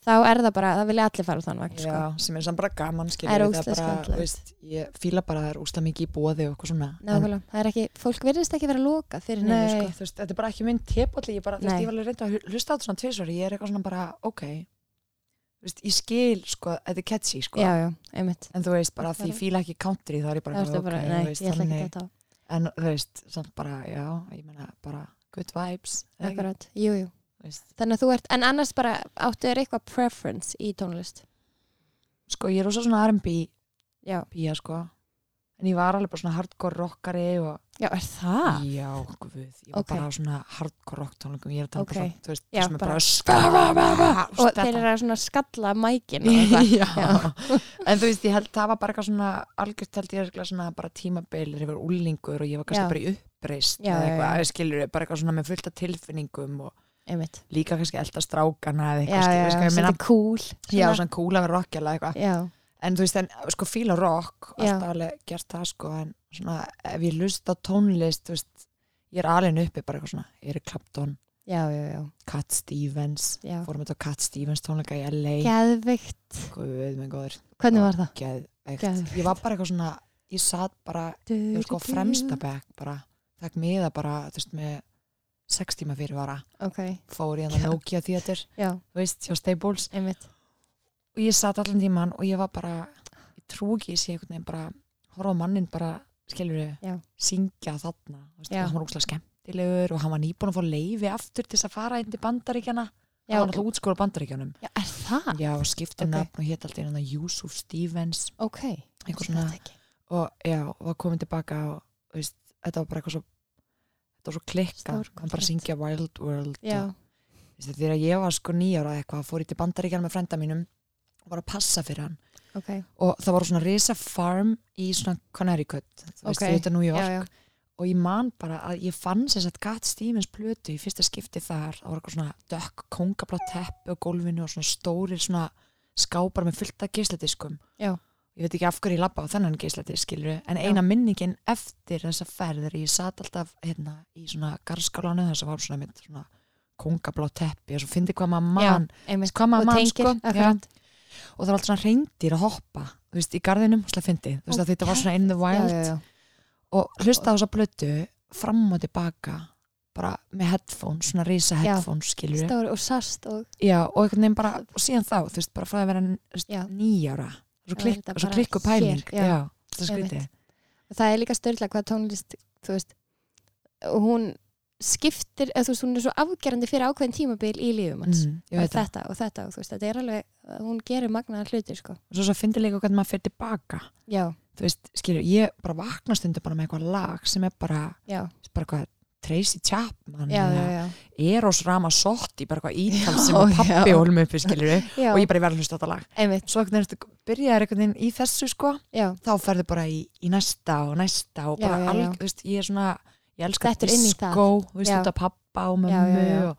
þá er það bara, það vilja allir fara á þann vagn sko.
Mhm, já, sem er samt bara gaman skilur
Það er
það
ógeðslega
er bara,
skemmtilegt.
veist, ég fíla bara að það er úsla mikið í bóði og eitthvað svona En-
nákvæmlega, það er ekki, fólk virðist ekki vera lokað fyrir
Nei,
neinu sko.
þú veist, þetta er bara ekki minn tepalli, ég bara, þú veist,
Nei.
ég var alveg reynda að hu- hlusta á þetta svona tvisvar, ég er eitthvað svona bara, ok, veist, ég skil sko, að þetta er catchy sko
já, já, einmitt
en þú veist bara því ég fíla ekki country þá er ég
Það
bara,
ertu bara,
þú
nei,
veist,
ég ætla ekki
þannig-
þetta á
en þú veist, samt bara, já, ég meina bara good vibes eða ekki,
Akkurat, jú, jú
þú veist.
Þannig að þú ert, en annars bara áttu þér eitthvað preference í tónlist
sko ég er rosa svona R&B
Já,
pía sko en ég var alveg bara svona hardcore rockari og
já er það?
já, guð, ég var
Ok.
bara á svona hardcore rock tónleikum, ég er þannig
Ok.
okay. bara svona, þú veist,
Já,
það sem er
bara-
bara skara,
Og þeir eru að svona skalla mækin og eitthvað
já.
Já.
en þú veist, ég held það var bara eitthvað svona algjört held ég örugglega svona bara tímabil þegar ég var úlingur og ég var
Já.
kannski bara í uppreist
Já, já,
eða eitthvað,
já.
skilur bara eitthvað svona með fullta tilfinningum og
Einmitt
líka kannski elda strákana eða
Já,
eitthvað,
já,
skilur,
já,
skilur,
þetta
minna,
er cool
já,
svona.
svona kúla við rockjala eitthvað,
Já,
en þú veist, en sko fíla rock,
Já.
alltaf alveg gert það sko, en svona ef ég lusta tónlist, þú veist, ég er alveg uppi bara eitthvað svona, Eric Clapton
já, já, já,
Cat Stevens,
já.
fórum þetta á Cat Stevens tónleika í LA,
Geðveikt
guð með góður
Hvernig var það?
geðveikt
Geðveikt.
ég var bara eitthvað svona, ég satt bara ég var sko á fremsta bekk bara takk miða bara, þú veist, með sex tíma fyrir vara,
Ok,
fór ég að Nokia Theater,
já,
þú veist, hjá Staples
einmitt
og ég satt allan tíman og ég var bara ég trú ekki, ég sé einhvern veginn bara horfa á mannin bara, skilur
Já.
syngja þarna, þú veist,
Já.
hann var úkslega skemmtilegur og hann var nýbúin að fá leifi aftur til þess að fara inn til bandaríkjana
Já,
hann var alltaf útskóla bandaríkjanum
já er það?
já, og skipta
Ok.
nafn og hétt alltaf einhvern veginn Yusuf Stevens
Ok,
einhver svona
Þetta ekki.
og já, og var komin tilbaka og þú veist, þetta var bara eitthvað svo þetta var svo klikka, hann
Stórkostlegt.
bara syngja Wild World
Já,
og, þú veist, þegar ég var sko nýjára eitthvað, fór ég til bandaríkjan með frenda mínum og var að passa fyrir hann
ok,
og það var svona risa farm í svona Connecticut, þú veist,
Ok,
okay. þetta New
já,
York
já
og ég man bara að ég fann sem sagt Gat Stevens plötu í fyrsta skipti þar, það var eitthvað svona dökk kongablátt teppi á gólfinu og svona stórir svona skápar með fullt af geisladiskum
Já.
ég veit ekki af hverju ég labba á þennan geisladisk skilur, en eina minningin eftir þessa ferð þegar ég satt alltaf hérna í svona garðskálánu þar sem var svona mitt svona kongablátt teppi og svo fyndi hvað maður
Já,
mann
einmitt
hvað maður
Og
mann
tengir,
sko
akkurat.
og það var alltaf svona reyndir að hoppa þú veist, í garðinum, svona fyndi þú veist að þetta var svona in the
já,
wild
já, já.
og hlusta á þessa blötu fram og tilbaka bara með headphones, svona risa
Já.
headphones skilur
Stóri og sast og
já, og einhvern veginn bara, og síðan þá þú veist, bara frá því að vera þú veist,
Já.
nýjára svo,
Já,
klikk,
þetta
svo
bara
klikku pæling
hér, já.
já, það
Einmitt.
er skrítið
og það er líka störla hvað tónlist þú veist og hún skiptir, eða þú veist hún er svo afgerandi fyrir ákveðin tímabil í lífum hans
mm, ég
og
veit það,
þetta og þetta og þú veist þetta er alveg, hún gerir magnaðar hluti sko.
og svo, svo fyndi líka hvernig maður fyrir tilbaka
já,
þú veist, skilur, ég bara vakna stundum bara með eitthvað lag sem er bara,
já,
bara eitthvað Tracy Chapman
já, já,
eða
já,
Eros Ramazzotti, bara eitthvað ítal sem
Já,
að pappi
já.
hólum uppi skilur
já,
og ég bara verður hlusta á þetta lag
einmitt
svo einhvern veginn ertu- byrjaðir einhvern veginn í þessu sko
já,
þá ferðu bara í, í næsta og næsta og
Já,
bara
já, já.
alg, þú veist, ég er svona ég elska
Dettur inn í það.
disco, þú veist,
Já.
þetta pappa og
Já, já,
mömmu
já.
og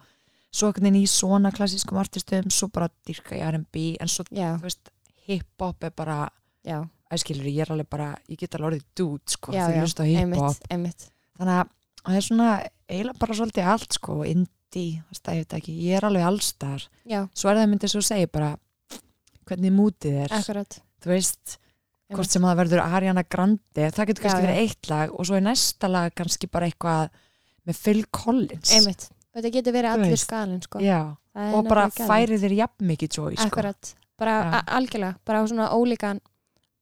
svo einhvern veginn í svona klassískum artistum, svo bara dyrka í R&B en svo,
já,
þú veist, hip-hop er bara,
já,
æskilur, ég er alveg bara ég get alveg orðið dude, sko,
já, já
þegar ég hlusta á hip-hop
einmitt, einmitt
þannig að það er svona eiginlega bara svolítið allt, sko, og indie þú veist, það, ég veit ekki, ég er alveg allstar
já,
svo er það myndið svo segja bara hvernig mútið er,
akkurat,
þú veist hvort
Einmitt.
sem það verður Ariana Grande það getur kannski
Já,
verið eitt lag og svo í næsta lag kannski bara eitthvað með Phil Collins
einmitt þetta getur verið
Þú
allir
veist.
skalinn sko.
Já,
Það er
og bara
nefnilega galið.
færir þér jafn mikið joy sko.
akkurat, bara
Já.
a- algjörlega bara á svona ólíkan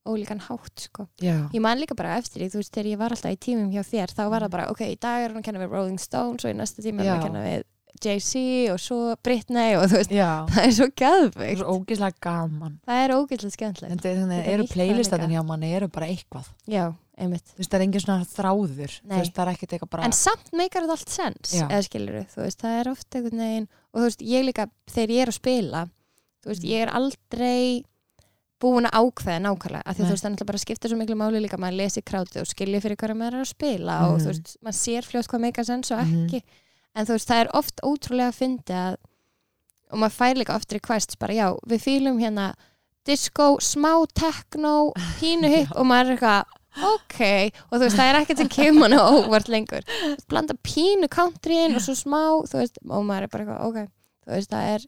ólíkan hátt sko
Já,
Ég man líka bara eftir því, þú veist, þegar ég var alltaf í tímum hjá þér, þá var það
Mm.
bara, ok, í dag er hún að kenna við Rolling Stones og í næsta tíma er
Já.
hún að kenna við Jay-Z og svo Britney og þú veist,
já
það er svo
það er
gæðveikt.
svo ógislega gaman
Það er ógæðlega skemmtilegt.
en þeir- þannig
Þetta
eru
nýtt það
playlistatin
líka.
hjá manni eru bara eitthvað
Já, einmitt.
þú veist, það er engin svona þráður þú
Nei.
veist, það er ekkert eitthvað bara
En samt meikar þetta allt sens,
Já.
eða skilur þú veist, það er oft einhvern veginn, og þú veist, ég líka, þegar ég er að spila, þú veist,
Mm.
ég er aldrei búin að ákveða nákvæmlega, af því
Nei.
þú veist, þannig bara skipta svo miklu máli líka, maður lesi krátið og skilji fyrir hverju maður er að spila og
Mhm.
þú veist, maður sér fljótt hvað meikar sens og
Mhm.
ekki, en þú veist, það er oft ótrúlega að fyndi að og maður fær líka oft requests bara já, við fýlum hérna disco, smá techno pínu hipp og maður er eitthvað ok, og þú veist, það er ekkert sem kemur hann óvart lengur, blanda pínu countryin og svo smá, þú veist og maður er bara eitthvað, ok, þú veist, það er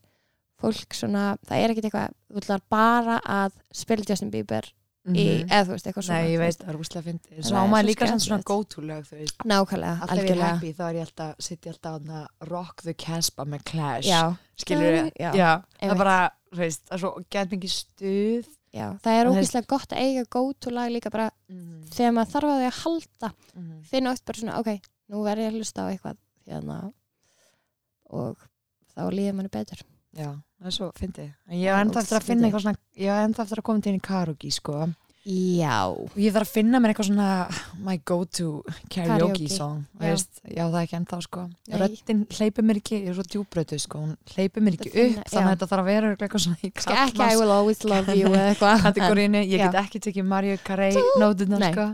fólk svona, það er ekkert eitthvað þú ætlar bara að spila Justin Bieber
Mhm.
í, eða þú veist, eitthvað svona
Nei, ég
þú
veit,
veist.
það er rúslega fyndið
Það
Svo á
er
maður
svo
líka samt svona
skemmtilegt.
go-to-lög þú veist.
nákvæmlega,
Alltaf ég er
algjörlega
happy, þá er ég alltaf sitt ég alltaf að Rock the Casbah með Clash
já,
skilur
Já,
já, það
einmitt.
bara þú veist, það er svo gett mikið stuð
Já, það er
Og þeir-
ógeðslega gott að eiga góttúlag líka bara
mm
þegar maður þarf að því að halda
-hmm.
finna oft bara svona, ok, nú verð ég að hlusta á eitthvað hérna og þá líður manni betur
Já, það er svo fyndið. En ég
Það
hef
er
enda eftir að
ógeðslega
finna
fyndið.
eitthvað svona, ég hef enda eftir að koma til henni karaoke, sko.
Já,
Og ég þarf að finna mér eitthvað svona my go-to karaoke
Karaoke.
song. þú
Já.
Veist, já, það er ekki ennþá, sko.
Nei.
Röddin hleypir mér ekki, ég er svo djúbrötu, sko. Hún hleypir mér ekki
Þetta finna-
upp, þannig
já.
að þetta þarf að vera eitthvað svona í
Ska ekki I will always love you eða eitthvað
kategoríinu. Ég
Já.
get ekki tekið Mario Carey nótuna,
Nei.
sko.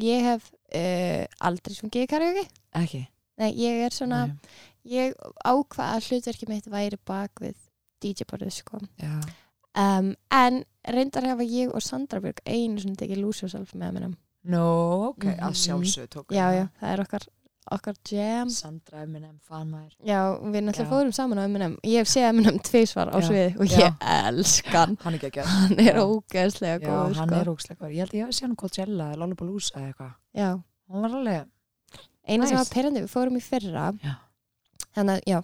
Ég hef uh, aldrei sungið í karaoke
Ekki.
Nei, ég er svona,
Nei.
ég ákvað að hlutverki mitt væri bak við DJ-borðið sko
Já.
um, En reyndar hefa ég og Sandra Björg einu svona tekið lúsjósalf með mennum
No, ok, að
Mhm.
sjálfsög tók.
Já, já, það er okkar, okkar jam
Sandra Eminem, fan maður.
Já, við náttúrulega
Já.
fórum saman á Eminem Ég hef séð Eminem tvísvar á
Já.
sviði og
Já.
ég elska hann
Hann er ekki að
Hann er
Já.
ógeðslega
Já,
góð
hann
sko.
er ógslega góður. Ég held ég að sé hann á Coachella eða Lollapalooza eða eitthvað.
Já,
Hún var alveg,
eina sem
Nice.
var perandi, við fórum í fyrra
Já.
Þannig að, já,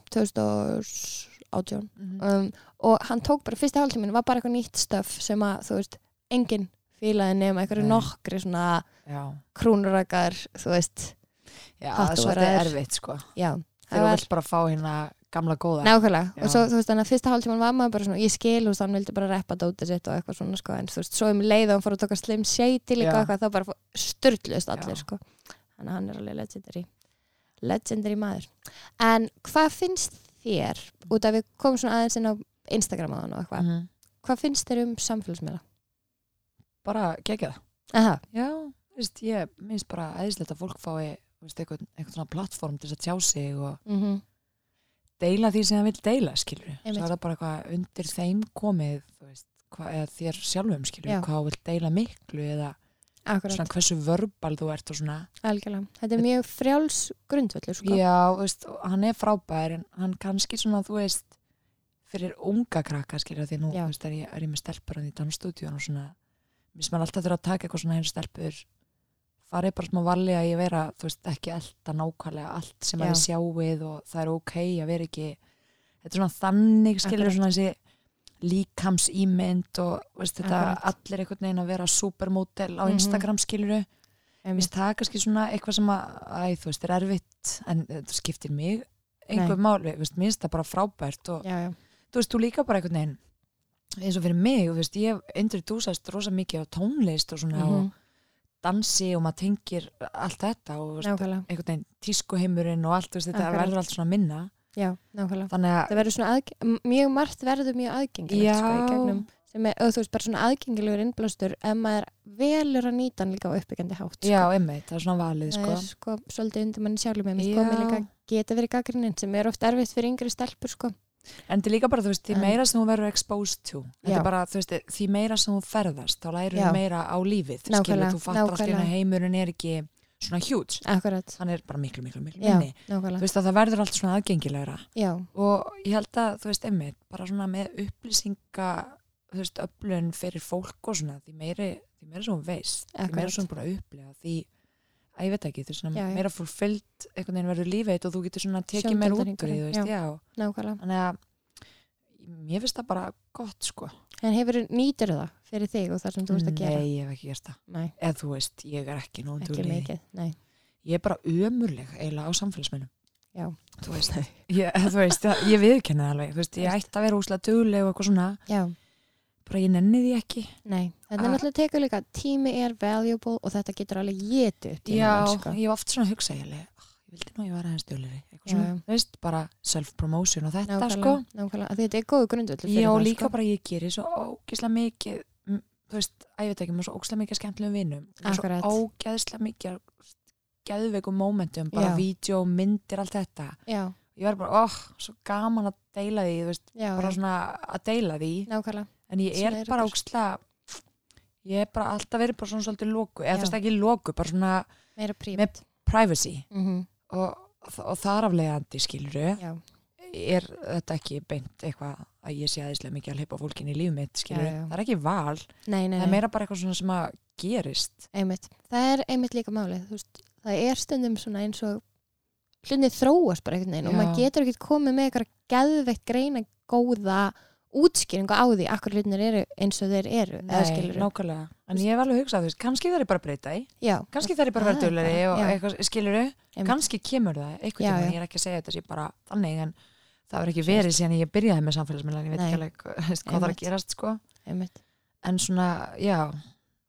2018
mm
um, Og hann tók bara, fyrsta hálftíminn var bara eitthvað nýtt stöf sem að, þú veist, enginn fílaði nema einhverju
Nei.
nokkri svona
já,
krúnurakar, þú veist
já
Hatt
það er
og
svolítið
varar.
erfitt sko.
Já,
Þegar þú vilt bara fá hérna gamla góða.
Nákvæmlega,
Já.
og svo þú veist þannig að fyrsta hálftíman var maður bara svona, ég skil, þú veist, hann vildi bara reppa dótið sitt og eitthvað svona, sko, en þú veist, svo um leið og hann fór að taka slim shady líka
Já.
og eitthvað, þá bara styrlust allir,
Já.
sko þannig að hann er alveg legendary legendary maður en hvað finnst þér, út af við komum svona aðeins inn á Instagram á hann og eitthvað
Mhm.
hvað finnst þér um samfélagsmiðla?
Bara gegja það.
Aha,
Já, þú veist, ég minnst bara æðislegt að fólk fái þú veist, eitthvað, eitthvað svona plattform til þess að tjá sig og
mm
deila því sem það vil deila, skilur.
Einmitt.
Svo er það bara eitthvað undir þeim komið, þú veist, hvað, eða þér sjálfum, skilur,
Já.
hvað þú vil deila miklu eða
akkurat,
svona hversu verbal þú ert og svona.
algjörlega þetta er mjög frjáls grundvöldu, sko
Já, þú veist, og hann er frábær en hann kannski svona, þú veist fyrir unga krakka, skilja því nú
Já.
þú veist, er, ég, er ég með stelpur hann í dansstúdíun og svona, minnst maður alltaf þurfa að taka eitthvað svona einu stelpur farið bara smá varlega í að vera, þú veist, ekki elda nákvæmlega allt
Já.
sem maður er sjáið og það er ok að vera ekki þetta er svona þannig, skilja
Akkurat.
svona þessi líkamsýmynd og þú veist, þetta
Akkurat.
allir einhvern veginn að vera supermodel á
Mhm.
Instagram, mm Mér
Einmitt.
finnst það kannski svona eitthvað sem að, æ, þú veist, er erfitt en þetta skiptir mig einhver máli, þú veist, mér finnst það bara frábært og
já, já,
þú veist, þú líka bara einhvern veginn eins og fyrir mig, þú veist, ég introdúsast rosa mikið á tónlist og svona
Mhm.
og dansi og maður tengir allt þetta og þú veist,
nákvæmlega
einhvern veginn tískuheimurinn og allt, þú veist, þetta
Akkurat.
verður allt svona minna
já, nákvæmlega
þannig að,
það verður svona aðge- m- mjög margt verður mjög
Já.
aðgengilegt sko, í gegnum sem er, og þú veist, bara svona aðgengilegur innblástur ef maður velur að nýta hann líka á uppbyggjandi hátt
já, emmi, það er svona valið,
sko.
sko
það er sko svolítið undir manni sjálfum með
Já.
komið líka geta verið gaggrinnin sem er oft erfitt fyrir yngri stelpur sko.
en þetta er líka bara, þú veist, því
En-
meira sem þú verður exposed to, þetta
Já.
er bara, þú veist, því meira sem þú ferðast, þá lærir
Já.
þú meira á lífið, skilur,
Nákvæmlega,
þú fattar allt í
nákvæmlega.
einu að heimurinn er ekki svona hjúts,
akkurat,
hann er bara miklu, miklu, miklu
Já.
minni, þú
nákvæmlega
veist, að það verður allt svona aðgengilegra
já,
og ég held að, þú veist, einmitt, bara svona með upplýsinga, þú veist, öflun fyrir fólk og svona, því meiri, því meira sem þú veist, því
Akkurat.
meira sem þú er búin að upplega, því að ég veit ekki, þú veist, svona,
Já, já.
meira fulfyllt einhvern veginn verður lífið þitt og þú getur svona tekið
Sjóndeildarhringurinn,
meira út úr því, þú veist, já
nákvæmlega
þannig að mér finnst það bara gott sko
en hefur, nýtur það fyrir þig og það sem þú veist að gera
Nei, ég hef ekki gert það
Nei,
eða þú veist, ég er ekki nóg
ekki mikið, nei
ég er bara ömurleg eiginlega á samfélagsmennum
Já.
þú veist, ég, eða þú veist það- ég viðkenni það alveg, þú veist, ég ætti að vera úslega dugleg og eitthvað svona,
já,
bara ég nenni því ekki
nei, þetta er
Ah.
náttúrulega tekur líka tími er valuable og þetta getur alveg getu sko.
ég hef oft svona hugsa ég alveg, "Ah, ég vildi nú að ég var aðeins duglegri eitthvað
Já,
svona,
já.
þú veist, bara self-promotion og þetta
nákvæmlega,
sko
nákvæmlega, Af því þetta er góðu grundvöld
Já, líka
sko.
bara ég gerir svo ógeðslega mikið mm, þú veist, að ég veit ekki, maður svo ógeðslega mikið af skemmtilegum vinnum,
Akkurat.
svo ógeðslega mikið af geðveikum momentum,
Já.
bara vídeo, myndir, allt þetta
já,
ég verður bara, óh, svo gaman að deila því þú veist,
já,
bara
já,
svona að deila því
nákvæmlega
en ég
Svona
er
er
bara
ykkur.
ógeðslega ég er bara alltaf verið bara svona svolítið loku, eða
Já.
þú veist ekki loku bara svona
meira prívat
privacy
mm
og, og þar aflegandi skiluru
já,
er þetta ekki beint eitthvað að ég sé aðeinslega mikið að hleypa fólkin í líf mitt skilur,
Já, já.
það er ekki val
nei, nei,
það
nei,
er meira bara eitthvað svona sem að gerist
einmitt það er einmitt líka málið, þú veist það er stundum svona eins og hlunnið þróast bara einhvern veginn og
Já.
maður getur ekkert komið með eitthvað geðveitt greina góða útskýringu á því akkur hlutinir eru eins og þeir eru eða
Nei,
skilur
nákvæmlega. En ég hef alveg hugsað, þú veist, kannski þær er bara að breyta í,
já,
kannski þær er bara
Það
að
er bara-
vera dölari og
já.
eitthvað, skilur þau,
Einmitt.
kannski kemur það, eitthvað
Já, já.
tíma, ég er ekki að segja þetta sé bara þannig, en það verður ekki verið síðan ég byrjaði með samfélagsmiðlan, ég veit
Nei.
ekki alveg hvað- veist, hvað það er
Einmitt.
að gerast, sko.
einmitt
En svona, já,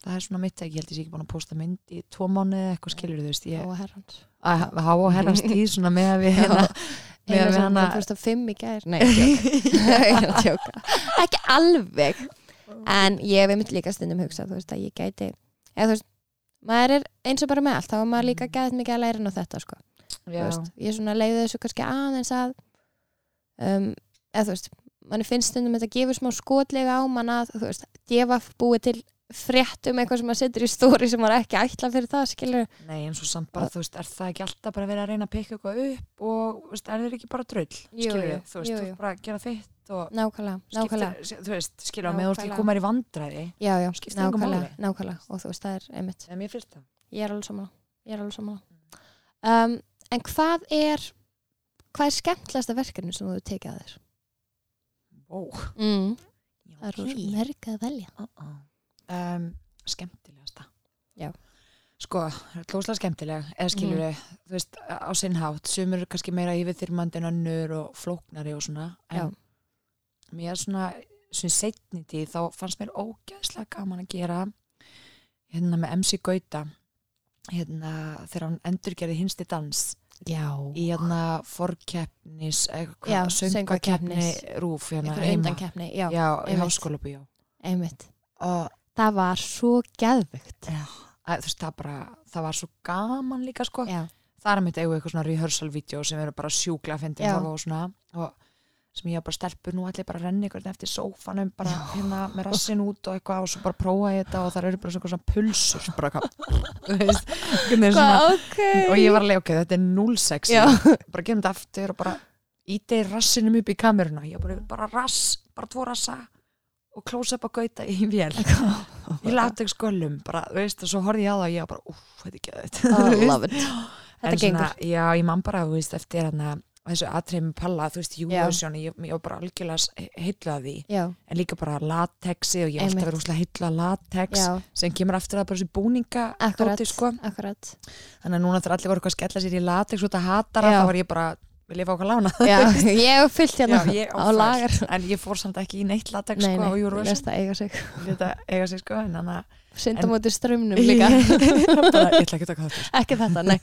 það er svona mitt ekki, ég held ég sé ekki búin að posta mynd í tvo mánuði eða eitthvað skilur, þú veist,
yeah.
ég
og herrans
að há og herrast í svona með að við hérna, með
eina
að við hérna-
sem
hana,
bara fórst á fimm í gær nei, tjóka. tjóka ekki alveg en ég hef einmitt líka stundum hugsað þú veist að ég gæti eða þú veist maður er eins og bara með allt þá er maður líka gæðið mikið að læra inn á þetta sko Þú
já,
veist, ég svona leiði þessu kannski aðeins að um, eða þú veist mann finnst stundum þetta gefur smá skotlega á mann að þú veist, gefa búið til frétt um eitthvað sem maður setur í stóri sem maður ekki ætla fyrir það skilur
nei, eins og samt bara, þú veist, er það ekki alltaf bara verið að reyna að pikka eitthvað upp og, þú veist, er þeir ekki bara drull,
Jú,
skilur
jú,
þú
jú,
veist, þú
jú.
veist bara að gera þitt og
nákvæmlega, nákvæmlega
skiptir, þú veist, skilur, með þú ert
Nákvæmlega.
ekki komar í vandræði,
já, já,
skiptir engu
nákvæmlega,
máli.
nákvæmlega og þú veist það er einmitt
en mér finnst það.
ég er alveg saman, ég er alveg saman. Um, en hvað er hvað er skemmtilegasta verkefni sem þú hefur tekið að þér?
Ó,
Mm.
já,
Það eru
ok.
okay. mörg að velja
um, skemmtilegasta
Já. Mhm.
sko, klóslega skemmtileg eða skilur þú veist, á sinn hátt sumur eru kannski meira yfirþyrmandi en önnur og flóknari og svona en mér er svona sem setni tíð þá fannst mér ógæðslega gaman að gera hérna með MC Gauta hérna þegar hann endurgerði hinsti dans
Já,
í hérna forkeppnis
Já,
eitthvað, söngakeppni
söngvakeppnis.
rúf hérna
einhver
heima
undankeppni, já,
já, í
einmitt.
háskóla bíó
einmitt
og
Það var svo geðvögt
að, þú veist, það bara, það var svo gaman líka sko,
Já,
það er mitt eigu eitthvað svona rehearsal-vídeó sem eru bara sjúkla að fyndi
Já.
og svona, og sem ég var bara stelpur nú allir bara að renna ykkur eftir sófanum bara hérna með rassin út og eitthvað og svo bara prófa ég þetta og það eru bara svona, svona pulsur bara eitthvað, þú veist einhvern veginn svona,
ok
og ég var alveg, ok, þetta er 06
Já.
bara gerum þetta aftur og bara íti rassinum upp í kameruna ég bara, bara rass, bara tvo rassa og close up að gauta í vél
Oh
ég láti ekki skölum bara, þú veist, og svo horfði ég á það og ég var bara, úf, þetta er ekki
oh,
þetta
Love it Þetta gengur
já, ég man bara, þú veist, eftir hann að þessu atriðum palla, þú veist, Eurovision ég, ég var bara algjörlega heitlaði því
Já,
en líka bara latexi og ég hef alltaf
Einmitt.
verið úslega heitla latex
já,
sem kemur aftur að bara þessu búninga
akkurat
dóti, sko.
Akkurat
þannig að núna þegar allir voru eitthvað að skella sér í latex út að hatara,
Já.
þá var ég bara, vil ég fá eitthvað lána
Já, ég hef fyllt hérna
Já, ég á
á
fullt.
lagar
en ég fór samt ekki í neitt latex
Nei,
sko, á
nei, ég
Eurovision,
veist það eiga sig
þetta eiga sig sko en þannig að
Synda
En-
móti strömmnum líka
bara, ég ætla ekki að taka þetta
Ekki þetta, nei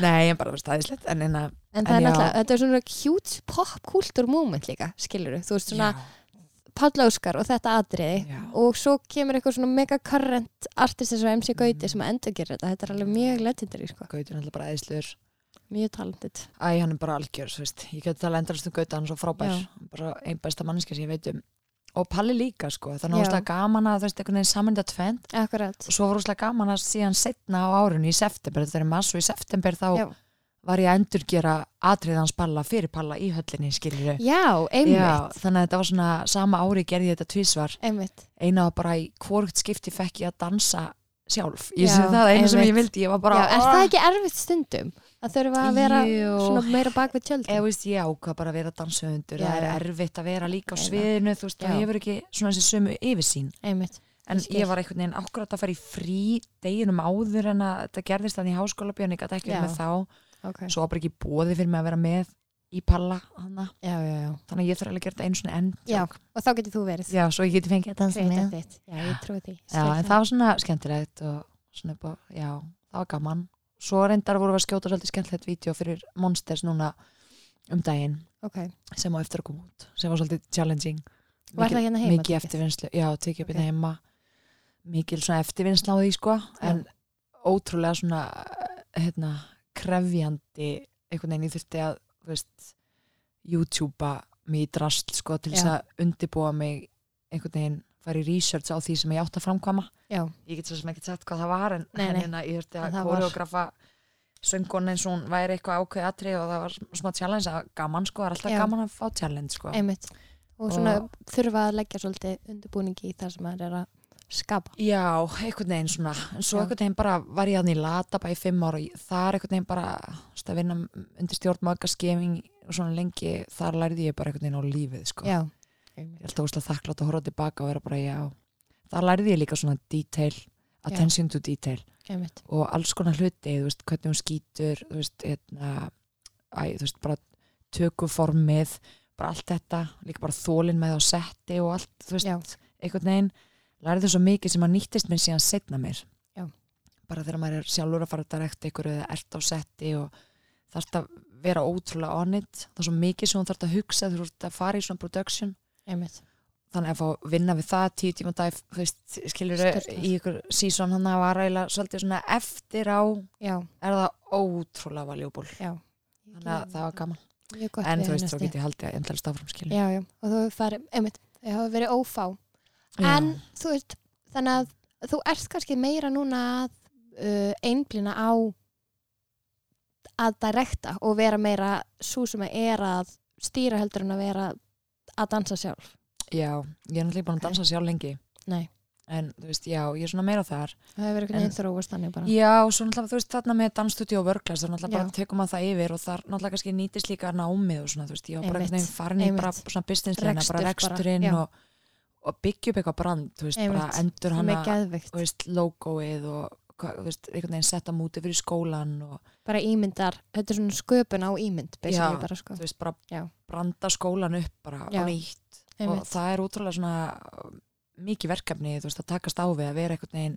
Nei, en bara þú veist aðeinslegt en hérna, en að
En það
En
er
já.
náttúrulega, þetta er svona cute pop-kultur moment líka, skilur þú veist svona Páll Óskar og þetta atriði
Já.
og svo kemur eitthvað svona mega current artist eins og MC
Mm.
Gauti sem að endurgerir þetta þetta er alveg mjög legendary sko,
Gautur er alltaf bara aðeinslur
mjög talented
Æ, hann er bara algjör, þú veist Ég gæti talað endrast um Gauta, hann er svo frábær
Já.
bara einn besta mannskja sem ég veit um og Palli líka, sko,
Já.
þannig að það gaman að þú veist einhvern veginn saman þetta tvend
Akkurat,
og svo var úslega gaman að síðan setna á árunni í september, þetta er í mass og í september þá
Já.
var ég að endurgera atriðans palla fyrir palla í höllinni skilur
já, einmitt
þannig að þetta var svona sama ári gerði ég þetta tvísvar
einmitt,
eina var bara í hvort skipti fekk ég að dansa sjálf
Já,
ég sem það einu sem ég
einmitt.
vildi, ég var bara
já, er það ekki erfitt stundum að þurfa að vera
Jú.
svona meira bak við
Ég
tjöldum
veist, ég ákvað bara að vera dansöfundur,
Já,
það er
já.
erfitt að vera líka á
Eina.
sviðinu, þú veist, það
Já.
hefur ekki svona þessi sömu yfirsýn.
einmitt,
En
Ég skil.
ég var einhvern veginn akkurat að fara í frí deginum áður en að þetta gerðist þannig í háskóla björn, ég gæti ekki
Já.
verið með þá,
ok
svo var bara ekki bóði fyrir mig að vera með í palla hana,
já, já, já.
þannig að ég þarf alveg að gera þetta einu svona enn.
já, og þá getur þú verið
Já, svo ég geti fengið að dansa
Creative
með.
þitt, já, ég trúi því
Já,
Skil
en það var svona skemmtilegt og svona upp á, já, það var gaman. Svo reyndar voru við að skjóta svolítið skemmtilegt vídeo fyrir Monsters núna um daginn
ok,
sem á eftir að koma út, sem var svolítið challenging.
Var það
Mikil-
hérna heima
Mikið
tekið?
eftirvinnslu, já, tekið
Ok.
upp hérna heima. Mikið svona eftirvinnsla á því, sko,
Já.
en ótrúlega svona, hérna, krefjandi, einhvern veginn ég þurfti að, þú veist, YouTube-a mig í drast, sko, til þess
Já.
að undibúa mig einhvern veginn, fara í research á því sem ég átt að framkvæma
já,
ég get svo sem ekki sett hvað það var en,
Nei,
en
nei.
hérna ég þurfti
En
að
það var-
koreografa söngun eins og hún væri eitthvað ákveðið atrið og það var sm- smá challenge að gaman sko, það er alltaf
Já.
gaman að fá challenge sko.
einmitt og svona
Og-
þurfa að leggja svolítið undirbúningi í það sem maður er að skapa
Já, einhvern veginn svona en svo
Já.
einhvern veginn bara var ég hann í lata bara í fimm ára og það er einhvern veginn bara þú veist, að vinna undir stjórn maga skefing og svona lengi, þar lærði ég bara einhvern veginn á lífið sko.
já, einmitt.
ég er alltaf óslega þakklátt að horfa tilbaka og vera bara já það lærði ég líka svona detail attention to detail
Einmitt.
og alls konar hluti, þú veist, hvernig hún skýtur þú veist, hérna æ, þú veist, bara tökuformið bara allt þetta, líka bara þólin með á setti og allt, þú veist,
Já,
einhvern veginn lærði svo mikið sem að nýttist mér síðan setna mér
Já.
bara þegar maður er sjálfur að fara að direkta ykkur eða ert á setti og þarft að vera ótrúlega on it það er svo mikið sem hún þarft að hugsa þegar þú ert að fara í svona production
einmitt.
þannig að fá að vinna við það tíu tíma á dag, þú veist, skilur
Sturlað.
í ykkur sísón hann að var eiginlega svolítið svona eftir á
Já,
er það ótrúlega valjúból
já.
þannig að það var gaman,
Mjög gott
en
við
þú veist þá
hennar
get ég haldið að endalist áfram
stig.
skilur
Já, já, og þú farið, einmitt, þau hafa verið ófá. En þú veist, þannig að þú ert kannski meira núna að uh, einblina á að direkta og vera meira svo sem er að stýra heldur en að vera að dansa sjálf.
já, ég er náttúrulega búin að dansa sjálf lengi
Nei,
en þú veist, já, ég er svona meira þar
það hefur verið
En-
einhvern veginn þróast þannig bara.
Já, svo náttúrulega þú veist þarna með dansstudio og vörglas, þá náttúrulega bara
Já.
tekum maður það yfir og þar náttúrulega kannski nýtist líka námið og svona, þú veist, ég var bara
Einmitt,
einhvern veginn farin í
einmitt.
bara svona businessleina,
Rekstur
bara
bara,
reksturinn
já.
og, og byggja upp eitthvað brand, þú veist,
Einmitt,
bara endur
Sem
hana,
er geðvikt.
þú veist, logoið og, hvað, þú veist, einhvern veginn setja múti fyrir skólan og,
Bara ímyndar, þetta er svona sköpun á ímynd, basically
Já,
bara sko.
þú veist, bara
Já.
branda skólan upp bara
Já.
á nýtt og
Einmitt,
það er útrúlega svona uh, mikið verkefni, þú veist, að takast á við að vera einhvern veginn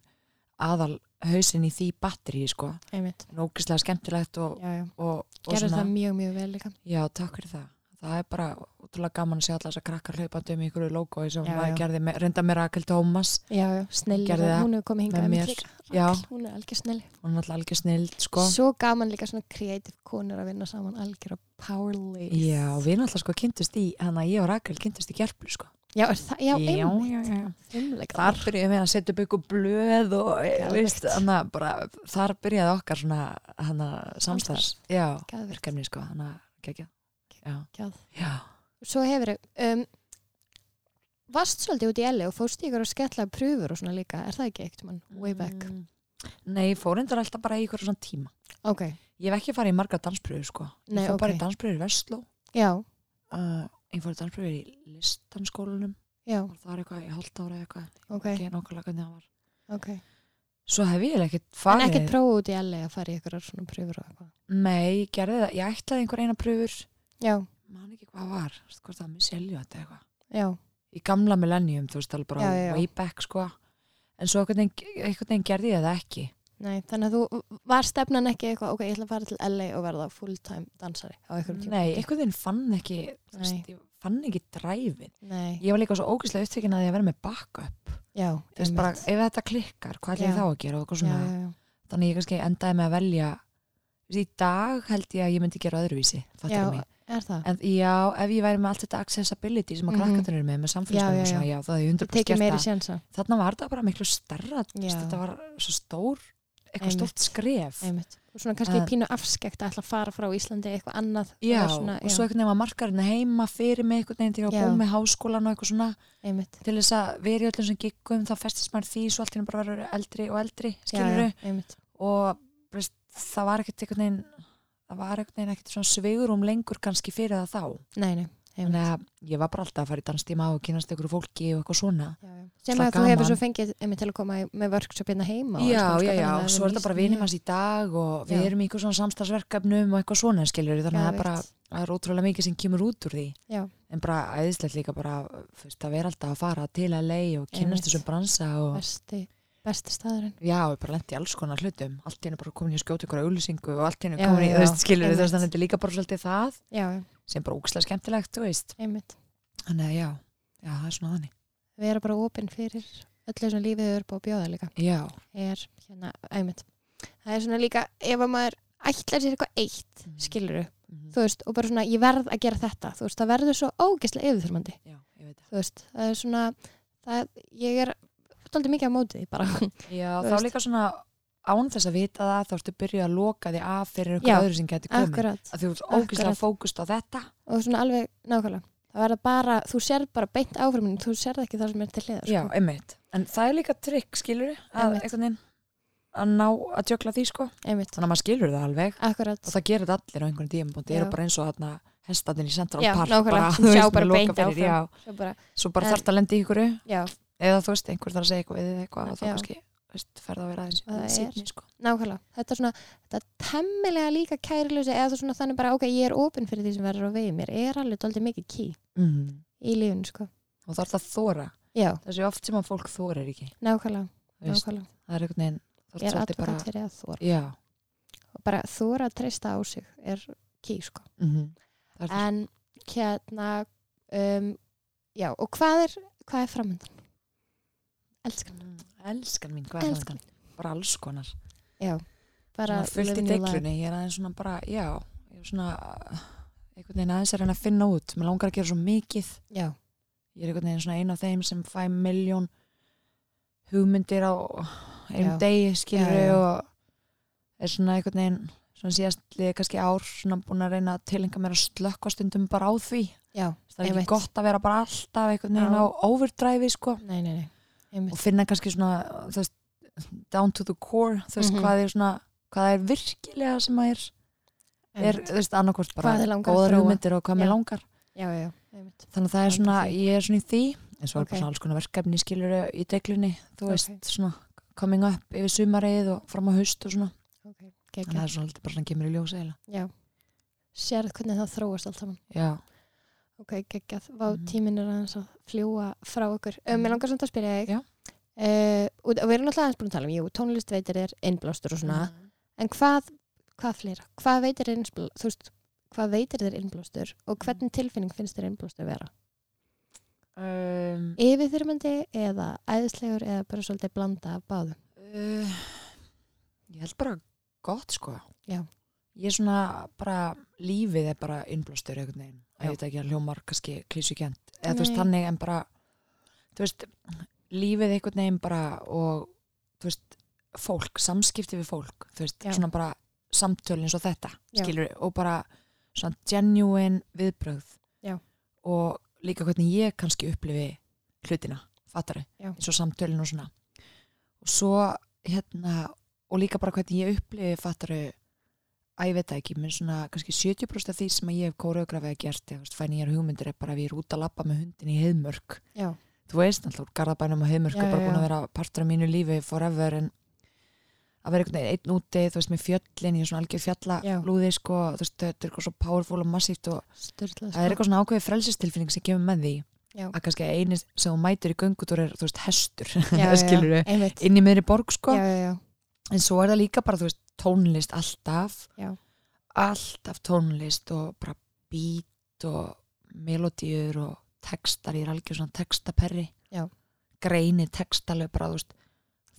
aðal hausinn í því batteri, sko,
einmitt.
nógislega skemmtilegt og,
Já, já.
og, og
Gerður það mjög, mjög vel líka.
Já, takk fyrir það. Það er bara útrúlega gaman að sjá alltaf þess að krakkar hlaupandi um í einhverju logoi sem
Já,
maður
já.
gerði með, reynda með Rakel Tómas
Já, já, snilli.
Gerði það
Hún hefur komið hingað
með
einmitt
mér.
líka.
Já,
Rakel, Hún er algjör snilli.
hún er alltaf algjör snild, sko.
Svo gaman líka svona creative konur að vinna saman algjör og power ladies.
Já, við erum alltaf sko kynntust í, hann að ég og Rakel kynntust í gerplu, sko.
Já, er það, já,
já,
einmitt.
já, já.
Fimleika.
Þar byrjuðum við að setja upp ykkur blöð og,
Geðveikt.
Gælvegt. veist, þannig að bara, þar byrjaði okkar svona, hann að samstars, já,
Gæðverk.
verkefni, sko, hann að gegja. Já,
Gæð.
já.
Svo hefur þau, um, varst svolítið út í LA og fórst ykkur að skella pröfur og svona líka, er það ekki eitt mann? Way back.
Mm. Nei, fórindur alltaf bara í ykkur svona tíma.
Ok,
Ég hef ekki farið í marga danspröður, sko.
Nei,
ég fór bara
ok.
í danspröður í Vestló.
já,
uh, ég fór í danspröfur í listanskólanum
já,
og það var eitthvað í hálft ára eða eitthvað
ok,
ekki nokkulega hvernig það var
ok.
svo hef ég eiginlega ekkert
En
farið
ekkert prófa út í LA að fara í ykkur svona pröfur og eitthvað.
nei, ég gerði það, ég ætlaði einhver eina pröfur
Já,
man ekki hvað var, Þú veist, hvort það var með selju þetta eitthvað
já,
í gamla millennium, þú veist, alveg bara
Já, já, já.
way back sko en svo einhvern veginn, einhvern veginn gerði ég það ekki
nei, þannig að þú var stefnan ekki eitthvað, ok, ég ætla að fara til LA og verða full-time dansari á ykkur tíma.
nei, einhvern veginn fann ekki þú
Nei.
veist, ég fann ekki dræfin
Nei,
ég var líka svo ógæslega upptökin að ég að vera með backup
já,
þú veist, bara, ef þetta klikkar, hvað
Já.
ætla ég þá að gera og
já,
eitthvað svona,
já, já.
þannig ég kannski endaði með að velja Þú veist, í dag held ég að ég myndi gera öðruvísi
Já,
já,
er það?
en já, ef ég væri með allt þetta accessibility sem að
Mhm.
krakkandur eru með með
Já, já,
samfélagsmiðlum og svona, já, þá hefði ég
Þú
100%
tekið
gert
meiri
það
sjensa.
þarna var þetta bara miklu stærra þú veist,
Já.
þetta var svo stór eitthvað
Einmitt.
stórt skref
Einmitt. Og svona kannski
En-
pínu afskekt að ætla að fara frá Íslandi eitthvað annað. og
já,
vera svona,
og svo einhvern veginn var markarinn heima fyrir mig einhvern veginn til ég var
Já.
búin með háskólan og eitthvað svona
einmitt.
til þess að vera í öllum sem giggum þá festist maður því, svo allt hérna bara verður eldri og eldri
Já,
skilur
já, einmitt.
og þú veist, það var ekkert einhvern veginn það var einhvern veginn ekkert svona sveigurum lengur kannski fyrir það þá
Nei, nei, einmitt.
þannig að ég var bara alltaf að fara í danstíma og kynast einhverju fólki og eitthvað svona
Já, já. Sem
það
að þú hefur
gaman.
svo fengið einmitt til að koma í- með workshop hérna heima. og
já,
alls konar,
já,
sko,
já,
þannig að
svo er þetta bara vinum hans í dag og við
Já.
erum í eitthvað svona samstagsverkefnum og eitthvað svona skiljur, þannig að það er bara
Geðveikt.
það er ótrúlega mikið sem kemur út úr því
Já.
en bara æðislegt líka bara þú veist, að vera alltaf að fara til að lei og
Einmitt.
kynast þessum bransa og
Besti, besti staðurinn.
já, ég bara lendi alls konar hlutum allt í hennu bara komin í að skjóta ykkur auðlýsingu og allt í hennu
Já,
komin í,
já,
þú veist, skiljur
einmitt.
þannig að þetta er líka bara svolítið það
Já, já,
sem er bara ógislega skemmtilegt, þú veist
einmitt.
þannig að já, já, það er svona þannig
Við erum bara opinn fyrir öllu sem lífið er búið að bjóða líka.
já,
Er hérna, einmitt. Það er svona líka, ef að maður ætlar sér eitthvað eitt,
Mhm.
skiluru,
Mhm.
þú veist, og bara svona, ég verð að gera þetta, þú veist, það verður svo ógeðslega yfirþyrmandi,
já, ég veit
þú veist, það er svona, það, ég er stoltið mikið á mótið, bara,
það já,
Þú
þá
veist.
líka svona án þess að vita það þá ertu byrjuð að loka því af
Já,
fyrir einhverju öðru sem getur komið
akkurat,
að þú ert
Akkurat.
ógislega fókust á þetta
og svona alveg nákvæmlega, það verður bara, þú sér bara beint áframinu, þú sér ekki það sem er til hliðar,
já, einmitt, en það er líka trikk skilur að
Sko. Einmitt.
einhvern veginn að ná að tjökla því sko
einmitt,
þannig að maður skilur það alveg
akkurat,
og það gerir þetta allir á einhvern tíum og það
Já.
eru bara eins og þarna hestaðin í Central
Já,
Park
nákvæmlega,
bara,
sem
þú
sjá
veist,
bara
með
beint
lokaferðir,
áfram.
já,
svo bara,
svo bara
En-
þarft að lenda í ykkur
já,
eða þú veist, einhver þarf að segja eitthvað við þig eitthvað og þá
Já.
kannski veist, ferð að vera
Það er.
aðeins sýnni sko.
nákvæmlega þetta er svona, þetta temmilega líka kærilösi eða þú svona þannig bara, ok, ég er opinn fyrir því sem verður á vegi mér, er alveg doldið mikið ký
mm.
í lífun, sko,
og þarf að þóra
já,
þessi oft sem að fólk þórir ekki
nákvæmlega
þú veist,
nákvæmlega,
það er einhvern veginn
ég
þarf
er
svolítið bara
advokat fyrir að þóra
já,
og bara þóra að treysta á sig er ký, sko
mm -hmm. það er
en hérna um, já, og hvað er hvað er framöndan? Elskan,
Mm, elskan mín, hvað er
Elskan
það bara alls konar
bara
svona fullt í
living your life.
deglunni, ég er aðeins svona bara, já ég er svona uh, einhvern veginn aðeins er hann að finna út mér langar að gera svo mikið
já,
ég er einhvern veginn svona einn af þeim sem fæ miljón hugmyndir á einum
Já.
degi skilur
Já, já.
og er svona einhvern veginn svona síðast liðið kannski ár svona búin að reyna að tilenga mér að slökka stundum bara á því
já,
það er
Einmitt.
ekki gott að vera bara alltaf einhvern veginn
Já.
á overdræfi sko
nei, nei, nei
og
einmitt,
finna kannski svona þú veist, down to the core þú veist
Mhm.
hvað er svona hvað er virkilega sem að er, er
einmitt.
þú veist annarkvort
Hvað
bara
þig langar að
góðar
þróa.
hugmyndir og hvað mér
Já.
langar
já, já, já, einmitt
þannig að það er svona,
Langar þig.
ég er svona í því en svo er
Ok.
bara svona alls konar verkefni skilur í deglunni, þú
Ok.
veist svona coming up yfir sumarið og fram á haust og svona,
okay.
þannig að það
geggjað.
er svona alltaf bara svona kemur í ljósa eða,
já, sérð hvernig það þróast allt saman
já
ok, geggjað, vá,
Mhm.
tíminn er aðeins að fljúa frá okkur, um,
Mhm.
mér langar samt að spyrja þig
Já.
Uh, og og við erum alltaf aðeins búin að tala um jú, tónlist veitir er innblástur og svona
Mhm.
En hvað, hvað fleira? Hvað veitir, innbl, veist, hvað veitir þér innblástur
Mhm.
og hvernig tilfinning finnst þér innblástur vera? Mm.
um,
Yfirþyrmandi eða æðislegur eða bara svolítið blanda af báðum?
uh, ég held bara gott sko
Já.
ég er svona bara lífið er bara innblástur einhvern veginn, að
Já.
ég veit ekki að hljómar kannski klísukent, eða þú veist
Nei.
þannig en bara, þú veist lífið einhvern veginn bara og þú veist, fólk, samskipti við fólk, þú veist,
Já.
svona bara samtöl eins og þetta,
Já.
skilur og bara svona genuine viðbrögð
Já.
og líka hvernig ég kannski upplifi hlutina, fattari,
Já.
eins og samtölin og svona og svo hérna og líka bara hvernig ég upplifi fattaru að ég veit það ekki, menn svona kannski 70% af því sem að ég hef kóreografið að gert eða þú veist, fæn ég er hugmyndir er bara að ég er út að labba með hundin í heiðmörk
Já,
þú veist, alltaf úr garðabænum og heiðmörk
Já,
er bara
já, já.
búin að vera partur af mínu lífi forever en að vera einhvern veginn einn úti, þú veist, með fjöllin ég er svona algjör
Já.
fjallablúði, sko þú veist, þetta er eitthvað svo powerful og massíft og
styrla
það er eitthvað svona ákveðið frelsistilfinning sem kemur með því
sko- Já.
að kannski eini sem þú mætir í göngutúr er, þú veist, hestur
já,
skilur
já, einmitt.
inn í meðri borg, sko
Já, já, já,
en svo er það líka bara, þú veist, tónlist alltaf
Já.
alltaf tónlist og bara beat og melodíur og textar, ég er algjör svona textaperri
Já.
greini textaleg bara, þú veist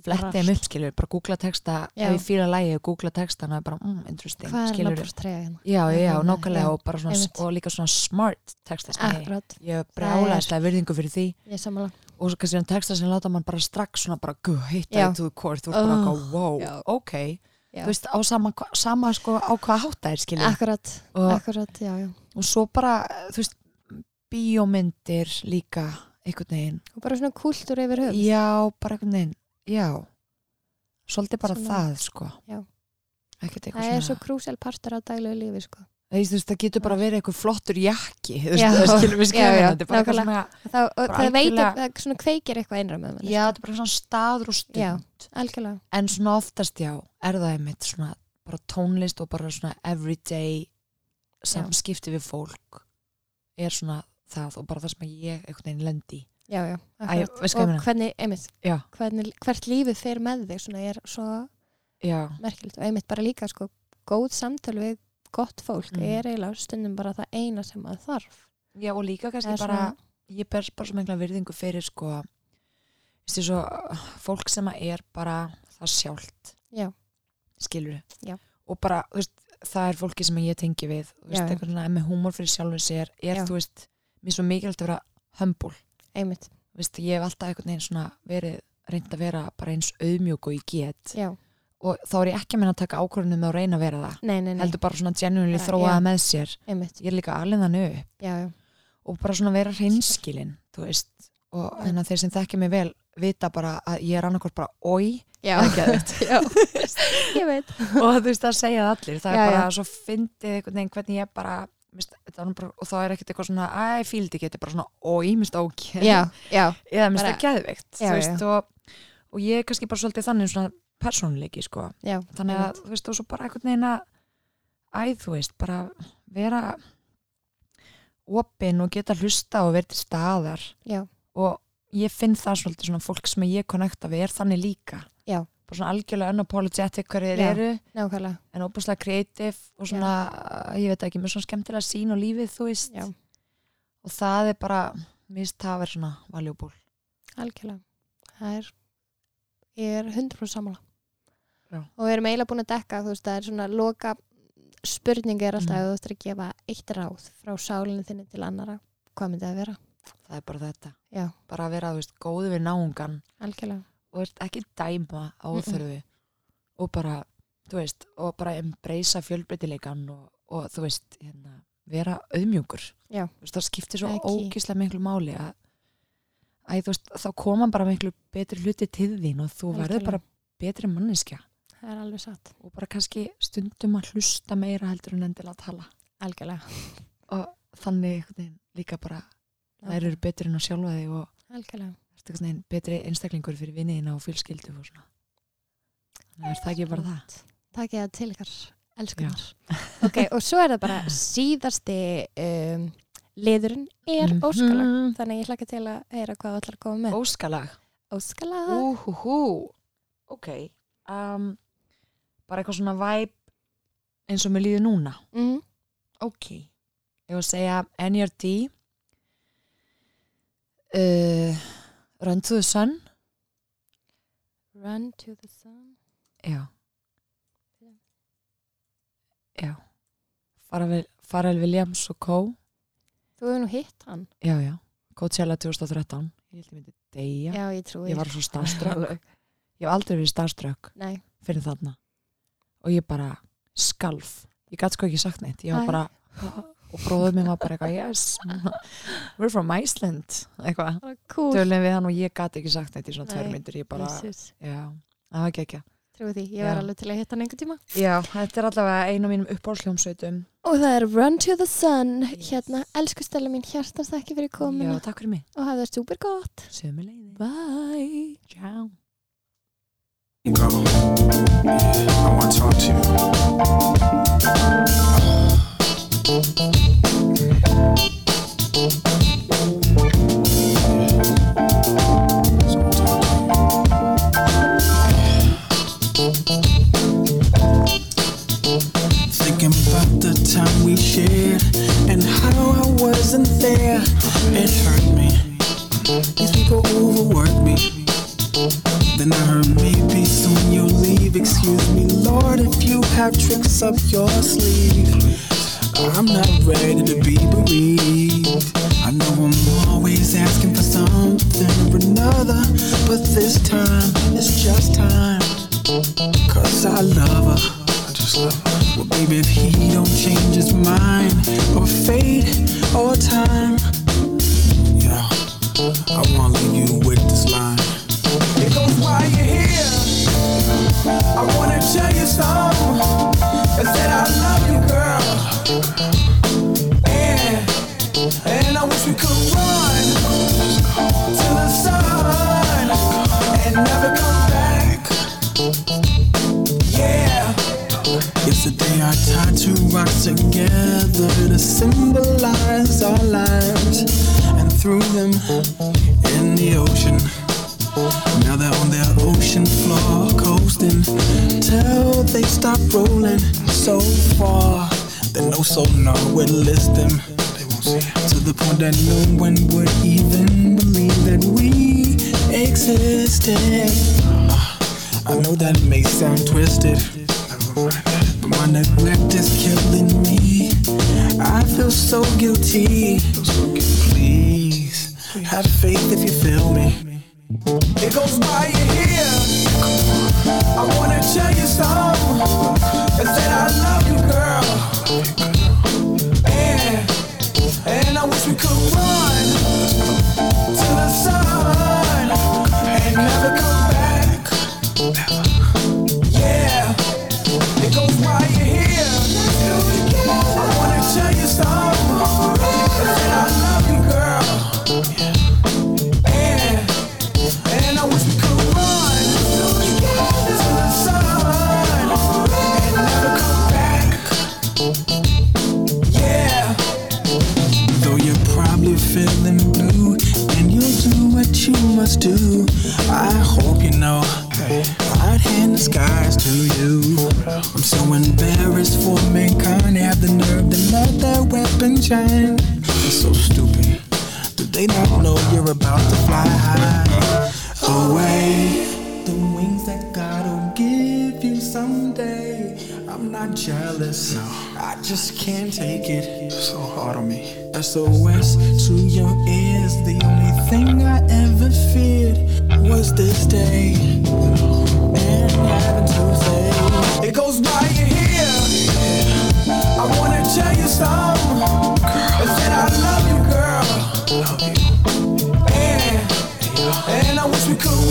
Bara
fletti þeim upp, skilur, bara googla texta
Já.
ef ég fýla lægi og googla texta og bara, mm, interesting,
hvað er
skilur
nafnast treyja hérna?
já, já, já,
Hérna,
nákvæmlega
já,
og bara svona,
einmitt.
og líka svona smart texta sem ég,
Akkurat,
ég
Það er-
brjálaðist að virðingu fyrir því
ég sammála.
og svo kannski hann texta sem láta mann bara strax svona bara guð, hitta
Já.
þið to the core, þú ert bara
Oh,
eitthvað, wow,
já.
ok
Já.
þú veist, á sama, hva- sama sko á hvað hátt það er skilja
Akkurat,
og,
akkurat, já, já.
og svo bara, þú veist bíómyndir líka einhvern veginn,
Og bara svona kúltúr yfir höfum.
já, bara einhvern veginn já, svolítið bara
Svona-
það sko,
Já.
ekkert eitthvað
Það er
svona
svo krúsel partur af daglegu lífi, sko.
Þú veist, það getur bara verið eitthvað flottur jakki, þú
Já.
veist, það skilur við skilur
Já, já,
þetta er bara eitthvað svona,
Það, og
Bara
það veitir,
algjörlega-
það svona kveikir eitthvað innra með manni.
já, þetta er bara svona staður og stund
Já. Algjörlega.
en svona oftast já, er það einmitt svona bara tónlist og bara svona everyday samskipti við fólk er svona það og bara það sem ég einhvern veginn lendi í.
Já, já,
Æ, veist hvað ég
og
meina?
hvernig, einmitt,
Já.
hvernig, hvert lífið fer með þig svona er svo
já,
merkilegt og einmitt bara líka sko góð samtöl við gott fólk
Mm.
er eiginlega stundum bara það eina sem að þarf
já og líka kannski
Eða
bara ég ber bara svona einhverja virðingu fyrir sko veistu svo fólk sem að er bara það sjálft
Já.
skilur
Já.
og bara þú veist, það er fólki sem ég tengi við þú veist,
Já, já.
eitthvað svona með húmor fyrir sjálfum sér er
Já.
þú veist, mér er svo mikilvægt að vera humble
einmitt,
veist, ég hef alltaf einhvern veginn svona verið reynd að vera bara eins auðmjúk og ég get
já, og,
og þá er ég ekki að minna að taka ákvörðunum með að reyna að vera það
nei, nei, nei,
heldur bara svona genuinely
Bara,
þróa
já.
það með sér
einmitt,
ég er líka alveg þannig upp
já, já,
og bara svona vera reynskilin þú veist, og
Já.
þannig að þeir sem þekkja mig vel vita bara að ég er annarkort bara oi,
já,
það er geðveikt.
ég veit,
og þú veist það segja það allir það
Já,
er bara svo fyndið einhvern veginn hvernig ég bara mist, bara, og það er ekkert eitthvað svona æ, fíldi ekki, þetta er bara svona ói, mist ókjæð
já, já,
eða mist
bara-
það geðveikt
Já,
þú veist, og, og ég er kannski bara svolítið þannig svona persónuleiki sko.
já
þannig að þú veist og svo bara einhvern veginn að æð þú veist bara vera opinn og geta hlusta og verið til staðar
Já.
og ég finn það svolítið svona fólk sem ég connecta við er þannig líka
Já.
bara svona algjörlega unapologetic hverju þeir
Já.
eru
nákvæmlega,
en óbúslega kreatív og svona, ég veit ekki, með svona skemmtilega sín og lífið þú veist
Já.
og það er bara, mér finnst það að vera svona valjúból
algjörlega það er, ég er 100% sammála
Já.
og við erum eiginlega búin að dekka þú veist, það er svona loka spurningi er alltaf
Mhm.
mm. að þú ættir að gefa eitt ráð frá sálinu þinni til annara hvað myndi það vera?
það er bara þetta,
Já,
bara að vera, þú veist, góðu við náungan
algjörlega
og ert ekki dæma á óþörfu og bara, þú veist og bara embracea fjölbreytileikan og, og þú veist, hérna, vera auðmjúkur
Já.
Þú veist, það skiptir svo
Ekki.
ógislega miklu máli að Æ, þú veist, þá koma bara miklu betri hluti til þín og þú verður
Algjörlega.
bara betri manneskja
það er alveg satt,
og bara kannski stundum að hlusta meira heldur en endilega að tala
algjörlega
þannig einhvern veginn líka bara þær eru betri en að sjálfa þig og
algjörlega,
ertu einhvern veginn betri einstaklingur fyrir vinniðina og fjölskyldu og svona Þannig er það ekki bara það
takk ég það til ykkar elskunar ok, og svo er það bara síðasti um, liðurinn er mm
Mhm.
þannig að ég hlakka til að heyra hvað þú ætlar að koma með
Óskalag
óskalag
Úhúhú Ok um, Bara eitthvað svona væp eins og mér líður núna
mm.
Ok Ég var að segja NRD uh, Run to the Sun
Run to the sun
Já
Já.
Já Farrell- Farrell Williams og Co
Þú hefur nú hitt hann
Já, já Coachella 2013 Ég held ég myndi deyja
Já, ég trúi
Ég var svo starstruck Ég hef aldrei verið starstruck
Nei,
fyrir þarna og ég bara skalf Ég gæti sko ekki sagt neitt Ég
Æ.
var bara og bróður minn var bara eitthvað yes, we're from Iceland eitthvað,
bara cool
tölum við hann og ég gæti ekki sagt neitt í svona
Nei,
tvær myndir ég bara,
Jesus,
já, það var ekki ekki
Trúi því, ég var
Já.
alveg til að hitta hann einhvern tíma
Já, þetta er allavega einu af mínum uppáhaldsljómsveitum
Og það er Run to the sun
Yes.
Hérna, elsku Stella mín, hjartast ekki fyrir komuna
Já, takk fyrir mig
Og hafa það super gott
Sömuleiði
Bye
Ciao
Go. I want to talk to you.
Thinking about the time we shared and how I wasn't there. It hurt me. These people overwork me. Then I heard maybe soon you'll leave. Excuse me, Lord, if you have tricks up your sleeve. I'm not ready to be bereaved. I know I'm always asking for something or another, but this time it's just time. Cause I love her. I just love her. Well, baby, if he don't change his mind, or fate, or time, yeah, I wanna leave you with this line. It goes why you're here. I wanna tell you something. Is that I love you, girl. And, and I wish we could run to the sun and never come back. Yeah. Yesterday I tied two rocks together to symbolize our lives and threw them in the ocean. Now they're on their ocean floor coasting till they stop rolling so far that no sonar would list them. They won't see it. To the point that no one would even believe that we existed. I know that it may sound twisted, but my neglect is killing me. I feel so guilty. Please, have faith if you feel me. It goes by you here. I wanna tell you something. Is that I love you, girl. And, and I wish we could run to the sun and never come back. Yeah, it goes right here. I wanna tell you something. feeling blue, and you'll do what you must do. I hope you know. I'd hand the skies to you. I'm so embarrassed for mankind. Have the nerve to let that weapon shine. It's so stupid. Do they not know you're about to fly high? Away. The wings that God'll give you someday. I'm not jealous. No. I just can't take it. So hard on me. SOS to your ears. The only thing I ever feared was this day. And having to say, it goes by your ear. I wanna tell you something. Is that I love you, girl. And, and I wish we could